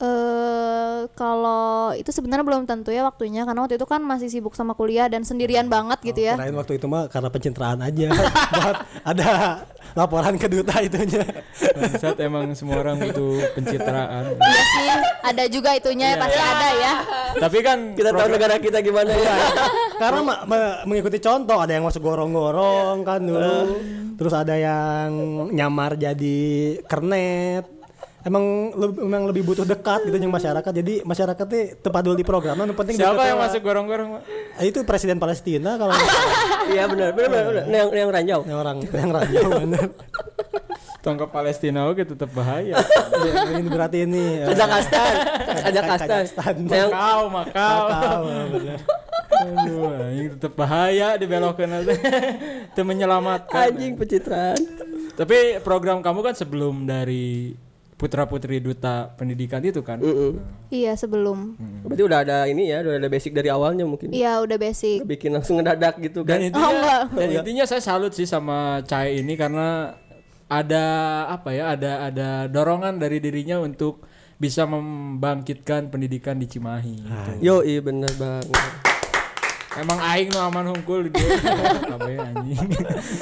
A: eh kalau itu sebenarnya belum tentu ya waktunya karena waktu itu kan masih sibuk sama kuliah dan sendirian banget gitu ya.
C: Kirain waktu itu mah karena pencitraan aja. Buat ada laporan ke duta itunya.
D: saat emang semua orang butuh pencitraan
A: Iya sih, ada juga itunya ya, pasti ada ya.
D: tapi kan
B: Kita tahu negara kita gimana ya.
C: karena ma- ma- mengikuti contoh ada yang masuk gorong-gorong kan dulu. Terus ada yang nyamar jadi kernet. Emang lebih, emang lebih butuh dekat gitu dengan masyarakat. Jadi masyarakat tuh tepat dulu di programnya. Yang penting dekat
D: siapa yang
C: sama-
D: masuk gorong-gorong Pak?
C: Eh, Itu presiden Palestina kalau nggak salah.
B: Iya benar, benar benar. benar. Yang yang ranjau.
D: Iya.
C: yang orang yang raja bener.
D: tongkap Palestina oke tetap bahaya Iya.
C: Ya, ini berarti ini. eh,
B: Kazakhstan, Kazakhstan.
C: Kazakhstan.
B: Yang
D: Makau, Makau.
C: Tahu, bener.
D: Aduh, anjing tetap bahaya dibelokkan aja. Itu menyelamatkan.
B: anjing pencitraan.
D: Tapi program kamu kan sebelum dari Putra Putri Duta Pendidikan itu kan.
B: Mm-mm.
A: Iya sebelum.
B: Berarti udah ada ini ya, udah ada basic dari awalnya mungkin.
A: Iya udah basic.
B: Bikin langsung ngedadak gitu
D: Dan
B: kan.
D: intinya,
A: Oh, enggak.
D: dan intinya saya salut sih sama Cai ini karena ada apa ya, ada ada dorongan dari dirinya untuk bisa membangkitkan pendidikan di Cimahi.
B: Yo, iya benar banget.
D: Emang aing nu aman hungkul di dieu. Kabeh anjing.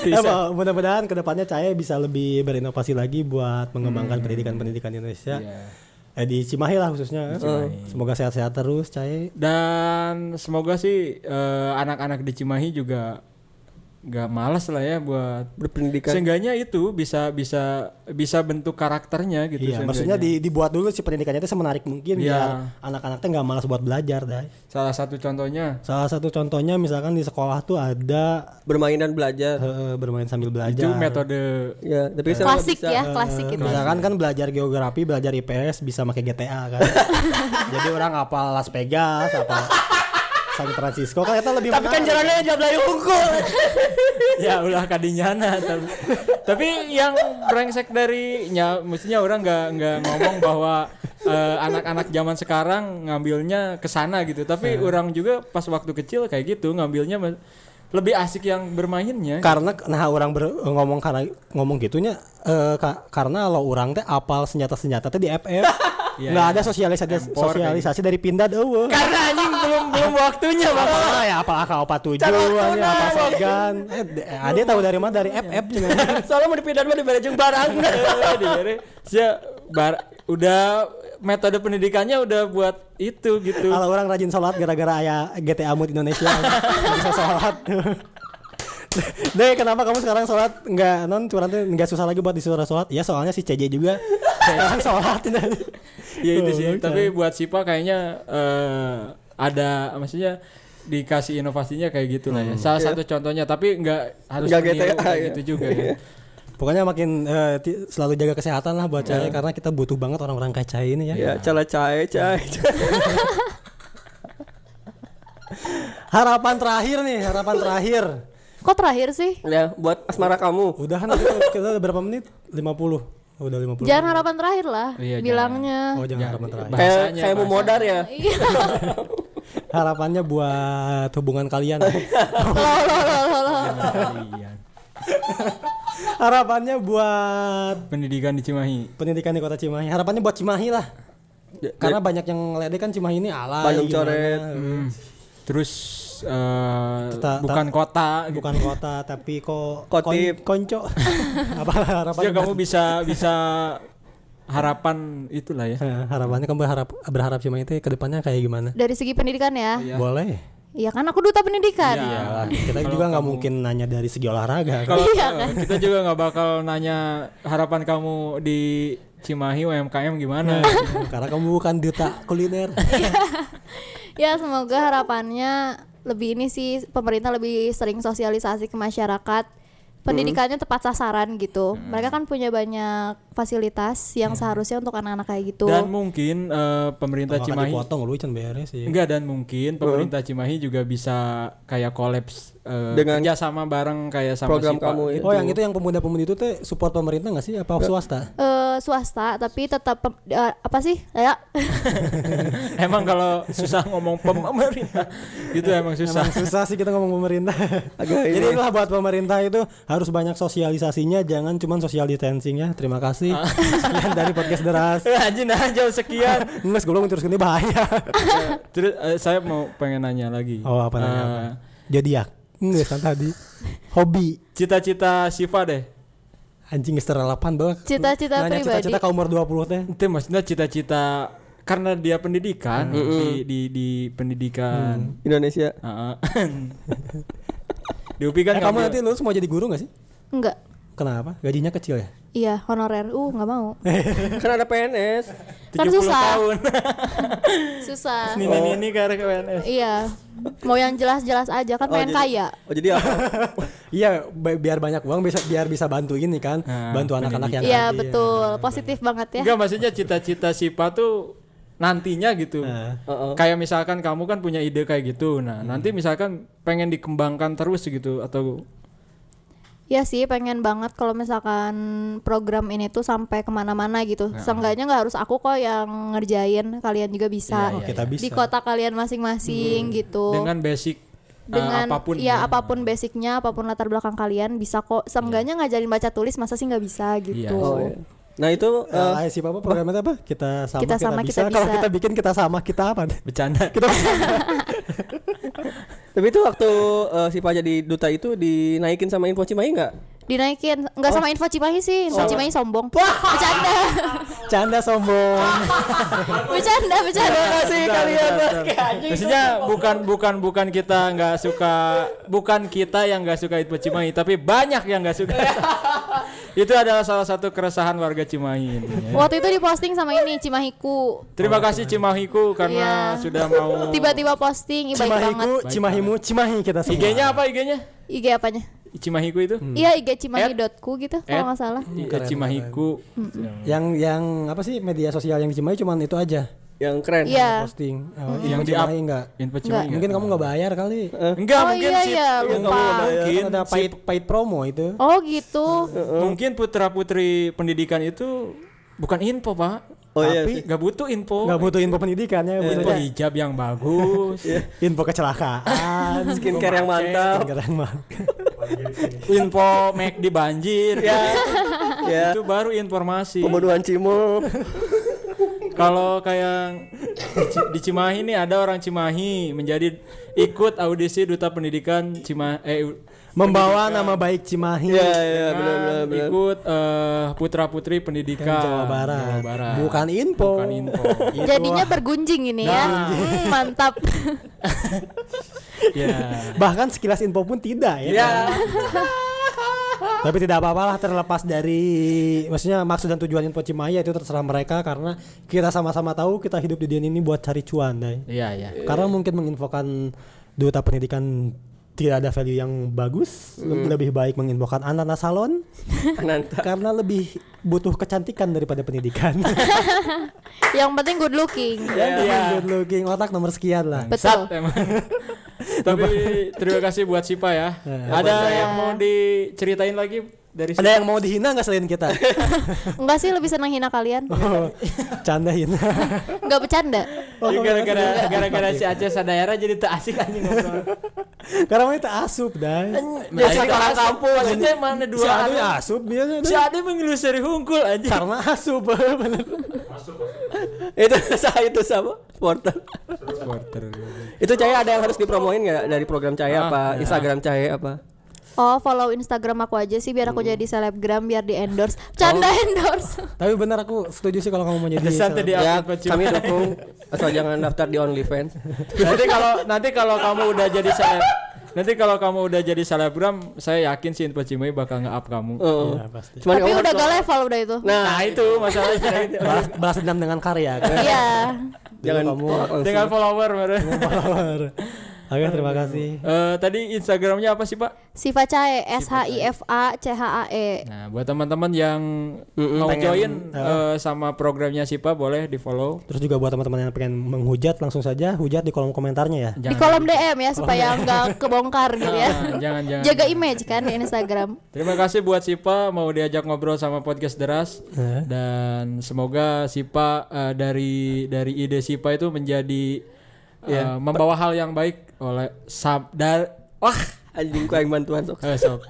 C: Ya,
D: Bisa.
C: Pak, mudah-mudahan kedepannya Cahaya bisa lebih berinovasi lagi buat mengembangkan pendidikan-pendidikan Indonesia.
D: Iya.
C: Eh, di Cimahi lah khususnya. Eh, Semoga sehat-sehat terus Cahaya.
D: Dan semoga sih eh, anak-anak di Cimahi juga nggak malas lah ya buat
B: Berpendidikan.
D: seenggaknya itu bisa bisa bisa bentuk karakternya gitu.
C: Iya,
D: seenggaknya.
C: maksudnya di- dibuat dulu si pendidikannya itu semenarik mungkin
D: Iya.
C: biar anak-anaknya nggak malas buat belajar, Day.
D: salah satu contohnya
C: Salah satu contohnya misalkan di sekolah tuh ada
B: Bermain dan belajar.
C: eh, bermain sambil
D: itu
C: belajar.
D: metode
B: Ya, tapi saya nggak
A: Klasik
B: bisa.
A: ya, klasik gitu.
C: Misalkan kan belajar geografi, belajar IPS bisa pakai GTA kan. Jadi orang apal Las Vegas, apal San Francisco kan itu lebih
B: Tapi kan
C: menarik.
B: jalannya aja belayu unggul.
D: ya ulah kadinyana tapi, tapi yang brengsek dari ya mestinya orang nggak nggak ngomong bahwa eh, anak-anak zaman sekarang ngambilnya ke sana gitu tapi
C: Ya.
D: orang juga pas waktu kecil kayak gitu ngambilnya me- lebih asik yang bermainnya
C: karena nah orang ber- ngomong karena ngomong gitunya eh, ka- karena lo orang teh apal senjata senjata teh di FF
D: Iya,
C: nggak
D: iya.
C: ada sosialisasi
D: Empor kayak
C: sosialisasi dari pindah deh
D: karena anjing belum belum waktunya bang
C: Ah, ya apa AK apa tujuh ya apa shotgun eh, d- eh, ade tahu dari mana dari
D: Iya.
C: FF juga
B: Soalnya mau dipindahin mau diberajung barang.
D: Dibere, sia, bar- udah metode pendidikannya udah buat itu gitu
C: kalau orang rajin sholat gara-gara ayah GTA mood Indonesia nggak bisa sholat Deh kenapa kamu sekarang sholat nggak non curang teh nggak susah lagi buat disuruh sholat ya soalnya si CJ juga sekarang sholat
D: ya itu sih
C: Oh, oke.
D: tapi buat Sipa kayaknya eh, ada maksudnya dikasih inovasinya kayak gitu lah
C: Hmm.
D: ya salah satu contohnya tapi nggak harus
B: Iya. Nggak
D: meniru
B: GTA,
D: kayak
B: iya.
D: gitu juga ya.
C: Pokoknya makin eh, ti- selalu jaga kesehatan lah buat
B: Iya.
C: Cahaya karena kita butuh banget orang-orang kayak Cahaya ini ya.
B: Ya, cala cai cai.
C: Harapan terakhir nih, harapan terakhir.
A: Kok terakhir sih?
B: Ya, buat asmara kamu.
C: Udah kan kita, kita udah berapa menit? 50. Udah 50.
A: Jangan harapan terakhir lah.
D: Iya, jangan.
A: bilangnya.
C: Oh, jangan harapan
B: Iya.
C: terakhir.
B: Kayak
D: Bahasanya,
B: kayak mau modar ya.
A: Iya.
C: Harapannya buat hubungan kalian.
A: Loh, loh, loh, loh, loh.
D: Iya.
C: Harapannya buat
D: pendidikan di Cimahi
C: pendidikan di Kota Cimahi. Harapannya buat Cimahi lah.
B: Ya,
C: Karena banyak yang ngeledek kan Cimahi ini alay.
B: Bandung
C: gimana.
B: coret.
C: Hmm.
D: terus eh,
C: Teta-
D: bukan kota gitu
C: Bukan kota tapi kok
B: Kotip. Iya,
C: kon- konco. Apa harapannya?
D: Sia, Ya kamu bisa bisa harapan itulah ya
C: Eh, harapannya kamu berharap berharap Cimahi itu kedepannya kayak gimana?
A: Dari segi pendidikan ya.
C: Boleh.
A: Iya kan aku duta pendidikan.
C: Iyalah, kita juga nggak mungkin nanya dari segi
A: Iya,
C: olahraga. kan?
D: Ya, Kalau eh, kita juga nggak bakal nanya harapan kamu di Cimahi UMKM gimana.
C: Karena kamu bukan duta kuliner.
A: Ya semoga harapannya lebih ini sih pemerintah lebih sering sosialisasi ke masyarakat. Pendidikannya tepat sasaran gitu. Mereka kan punya banyak fasilitas yang seharusnya untuk anak-anak kayak gitu.
D: Dan mungkin eh, pemerintah
C: Makan
D: Cimahi
C: dipotong lu can beres sih.
D: enggak dan mungkin pemerintah Cimahi juga bisa kayak kolaps
B: Dengan
D: dengan kerja sama bareng kayak sama
B: program
D: Sipa.
B: kamu itu.
C: Oh yang itu yang pemuda-pemudi itu teh support pemerintah nggak sih apa swasta?
A: Eh, swasta tapi tetap pem- eh, apa sih? Ya,
D: emang kalau susah ngomong pemerintah itu emang susah. Iya.
C: Emang susah sih kita ngomong pemerintah.
B: Agak ini.
C: Jadi itulah buat pemerintah itu harus banyak sosialisasinya, jangan cuma social distancing ya. Terima kasih.
D: Ah.
C: Sekian dari podcast deras.
D: Eh, Anjing nah jauh sekian.
C: Nges gue terus ini bahaya.
D: Terus eh, saya mau pengen nanya lagi.
C: Oh apa namanya? apa?
D: Eh,
C: Zodiak. Nges kan tadi. Hobi.
D: Cita-cita Siva deh.
C: Anjing nges terrelevan banget.
A: cita-cita pribadi.
C: Nanya cita-cita kaum umur 20 teh.
D: Itu maksudnya cita-cita karena dia pendidikan di, di di
B: Hmm.
D: pendidikan.
B: Indonesia.
D: Heeh. di UPI kan
C: Eh, kamu
D: ngambil-
C: nanti lulus mau jadi guru gak sih?
A: Enggak.
C: Kenapa? Gajinya kecil ya?
A: Iya, honorer. Uh, nggak mau.
B: kan ada PNS.
A: Kan
D: 70
A: susah.
D: tahun.
A: Susah.
D: Nini ini karena ke PNS.
A: Iya. Mau yang jelas-jelas aja kan
B: Oh,
A: pengen
B: jadi-
A: kaya.
B: Oh jadi apa?
C: Iya, bi- biar banyak uang bisa biar bisa bantu ini kan,
D: Nah,
C: bantu anak-anak yang
A: Iya,
C: tadi.
A: betul. Positif banget ya.
D: Enggak maksudnya cita-cita Sipa tuh nantinya gitu.
C: Nah.
B: Heeh.
D: Kayak misalkan kamu kan punya ide kayak gitu. Nah, nanti misalkan pengen dikembangkan terus gitu atau
A: Ya sih, pengen banget kalau misalkan program ini tuh sampai kemana-mana gitu. Seenggaknya nggak harus aku kok yang ngerjain, kalian juga bisa.
C: Oh, kita bisa.
A: Di kota kalian masing-masing gitu.
D: dengan basic uh,
A: Dengan-
D: apapun
A: ya, apapun basicnya, apapun latar belakang kalian bisa kok. Seenggaknya ngajarin baca tulis masa sih nggak bisa gitu.
B: Oh, iya. Nah itu eh,
C: Eh, si Papa programnya apa? Kita sama
A: Kita
C: kita,
A: sama,
C: bisa.
A: kita
C: Kalau
A: bisa.
C: kita bikin kita sama kita apa?
D: bercanda.
B: tapi itu waktu eh, si Pak jadi duta itu dinaikin sama Info Cimahi nggak?
A: Dinaikin nggak sama info Cimahi sih, info Cimahi sombong. Bercanda.
C: Canda
A: Ah,
C: sombong.
A: bercanda, bercanda.
D: Maksudnya bukan bukan bukan kita nggak suka bukan kita yang nggak suka Itpo Cimahi tapi banyak yang nggak suka. Itu adalah salah satu keresahan warga Cimahi intinya.
A: Waktu itu diposting sama ini Cimahiku.
D: Terima
C: Oh,
D: kasih Cimahiku karena
A: Iya.
D: sudah mau
A: Tiba-tiba posting, ih baik banget.
C: Cimahiku, Cimahimu, Cimahi kita semua.
D: IG-nya apa IG-nya?
A: IG apanya?
D: Cimahiku itu?
C: Hmm,
A: Iya IG Cimahi.ku gitu kalau
D: Hmm. At-
A: nggak salah.
D: Iya, Cimahiku.
C: Yang yang apa sih media sosial yang di Cimahi cuman itu aja
B: Yang keren.
A: Iya.
C: posting. Oh,
D: Yang
C: yang
D: di up.
C: Cimahi enggak.
D: Info Cimahi.
C: Mungkin kamu nggak bayar kali.
D: Enggak
A: Oh,
D: Ya, mungkin
A: iya,
D: sih.
A: iya, lupa.
D: Mungkin
C: Mungkin ada
D: sip.
C: paid paid promo itu.
A: Oh gitu.
C: Uh-uh.
D: Mungkin putra-putri pendidikan itu bukan info, Pak.
B: Oh iya
D: Tapi
B: sih.
D: nggak butuh info.
C: Nggak butuh info
B: Iya,
C: pendidikannya, butuh Iya.
D: Info hijab yang bagus.
C: info kecelakaan.
B: Skincare yang mantap.
C: Gerang banget.
D: info make di banjir.
C: Iya.
B: ya.
D: Itu baru informasi.
B: Pembunuhan Cimol.
D: Kalau kayak di- di Cimahi nih ada orang Cimahi menjadi ikut audisi duta pendidikan Cimahi eh
C: Membawa nama baik Cimahi.
B: Iya iya benar
D: Kan
B: benar
C: Nah,
B: benar.
D: ikut putra putri pendidikan
C: Yang kan Jawa Barat.
D: Jawa Barat.
C: Bukan info.
D: Bukan info. Iya.
A: Jadinya bergunjing ini ya.
D: Nah.
A: Hmm, mantap.
D: Iya.
C: Bahkan sekilas info pun tidak
B: Iya.
C: ya. Tapi tidak apa-apalah terlepas dari maksudnya maksud dan tujuan info Cimahi ya, itu terserah mereka karena kita sama-sama tahu kita hidup di dunia ini buat cari cuan, Day.
D: Iya iya.
C: Karena mungkin menginfokan duta pendidikan tidak ada value yang bagus,
D: Hmm.
C: le- lebih baik menginfokan anak-anak salon
B: Ananta.
C: karena lebih butuh kecantikan daripada pendidikan.
A: Yang penting good looking.
D: Iya.
C: Ya, good looking otak nomor sekian lah.
A: Betul.
D: Sat emang. Tapi terima kasih buat Sipa ya. Ada yang mau diceritain lagi dari Sipa?
C: Iya. Ada yang mau dihina nggak selain kita?
A: Enggak sih lebih senang hina kalian.
C: Oh, canda hina.
A: Enggak bercanda.
C: Oh,
D: Ini gara-gara gara-gara si Aceh Sadaera jadi tak asik anjing ngobrol.
C: Karena mau itu asup dah.
D: Biasa orang kampung maksudnya mana
C: Si
D: dua
C: Adu
D: anak.
C: asup biasanya.
D: Si Ade mengelusuri hungkul anjing.
C: Karena asup bener.
B: itu saya itu sama porter. itu Cahaya ada yang harus dipromoin nggak dari program
D: Ah,
B: Cahaya
D: ya.
B: apa Instagram Cahaya apa?
A: Oh, follow Instagram aku aja sih
D: Hmm.
A: biar aku jadi selebgram biar di endorse. Canda
D: Oh.
A: endorse.
C: Tapi bener aku setuju sih kalau kamu mau jadi
D: Pesan
C: seleb.
D: tadi
B: ya
D: upload Sipa.
B: kami dukung asal jangan daftar di OnlyFans.
D: nanti kalau nanti kalau kamu udah jadi seleb nanti kalau kamu udah jadi selebgram saya yakin si Info Cimahi bakal nge-up kamu
B: Oh.
C: Ya, pasti.
B: Cuman
A: Tapi
B: kamu
A: udah
B: harus-
A: gak level udah itu.
D: Iya, nah itu masalahnya
C: Balas, balas dendam
D: Nah.
C: dengan karya. kan?
A: Iya.
C: Dulu
B: jangan
C: kamu
D: iya.
B: tolak langsung.
D: dengan follower baru.
C: follower. Oke, terima kasih.
D: Eh, tadi Instagramnya apa sih Pak?
A: Siva Cae S H I F A C H A E
D: Nah, buat teman-teman yang mau join eh, sama programnya Sipa boleh di follow.
C: Terus juga buat teman-teman yang pengen menghujat langsung saja hujat di kolom komentarnya ya.
A: di kolom DM ya supaya nggak kebongkar gitu ya.
D: Oh, iya. Nah, jangan jangan.
A: Jaga image kan di Instagram.
D: Terima kasih buat Sipa mau diajak ngobrol sama podcast Deras
C: Eh.
D: dan semoga Sipa eh, dari dari ide Sipa itu menjadi eh, membawa hal yang baik oleh sab dar
B: Wah, anjing ku yang bantuan sok.
D: eh, sob.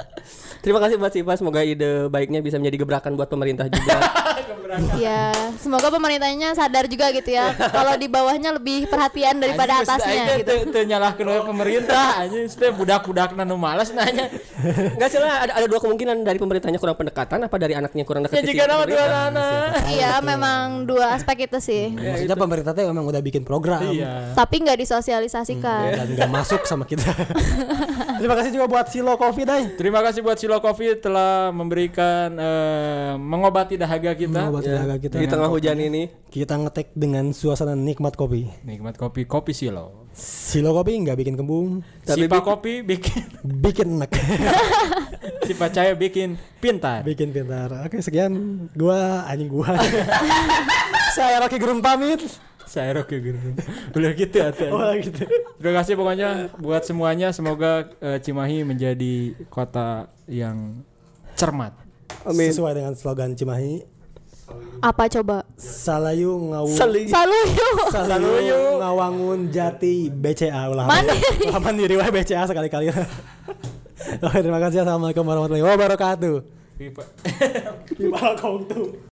B: Terima kasih buat Siva, semoga ide baiknya bisa menjadi gebrakan buat pemerintah juga.
A: Ya, semoga pemerintahnya sadar juga gitu ya. Kalau di bawahnya lebih perhatian daripada
D: Anjing, geus
A: atasnya
D: aja
A: gitu.
D: teu- teu nyalahkeun oleh pemerintah anjing teh budak-budak nu malas nanya.
B: Enggak sih lah, ada, ada dua kemungkinan dari pemerintahnya kurang pendekatan apa dari anaknya kurang
D: Ya
B: dekat.
D: jika nama dua nana.
A: Iya, memang dua aspek itu sih.
C: Maksudnya pemerintah teh memang udah bikin program.
D: Iya.
A: Tapi nggak disosialisasikan.
C: Dan nggak masuk sama kita. Terima kasih juga buat Silo Coffee Day.
D: Terima kasih buat Silo Coffee telah memberikan eh, mengobati dahaga kita.
C: Obat tenaga Iya, Ya. kita.
B: Di tengah hujan ini.
C: Kita ngetek dengan suasana nikmat kopi.
D: Nikmat kopi kopi Silo.
C: Silo Kopi nggak bikin kembung,
B: Tapi
D: Sipa
B: bi-
D: kopi bikin
C: bikin enak,
D: Sipa cahaya bikin pintar.
C: bikin pintar. Oke sekian, gua anjing gua. Saya Rocky Gerung pamit.
D: Saya Rocky Gerung. Boleh gitu atau?
C: Oh gitu.
D: Terima kasih pokoknya buat semuanya semoga eh, Cimahi menjadi kota yang cermat.
B: Amin.
C: Sesuai dengan slogan Cimahi,
A: Apa coba?
C: Salayu ngawung
B: Sali.
A: Selalu yuk.
C: Salayu ngawangun jati BCA ulah.
A: Mandiri.
C: Ulah mandiri wae BCA sekali-kali. Oke, terima kasih. Assalamualaikum warahmatullahi wabarakatuh.
D: Pipa.
C: Gimana kau tuh?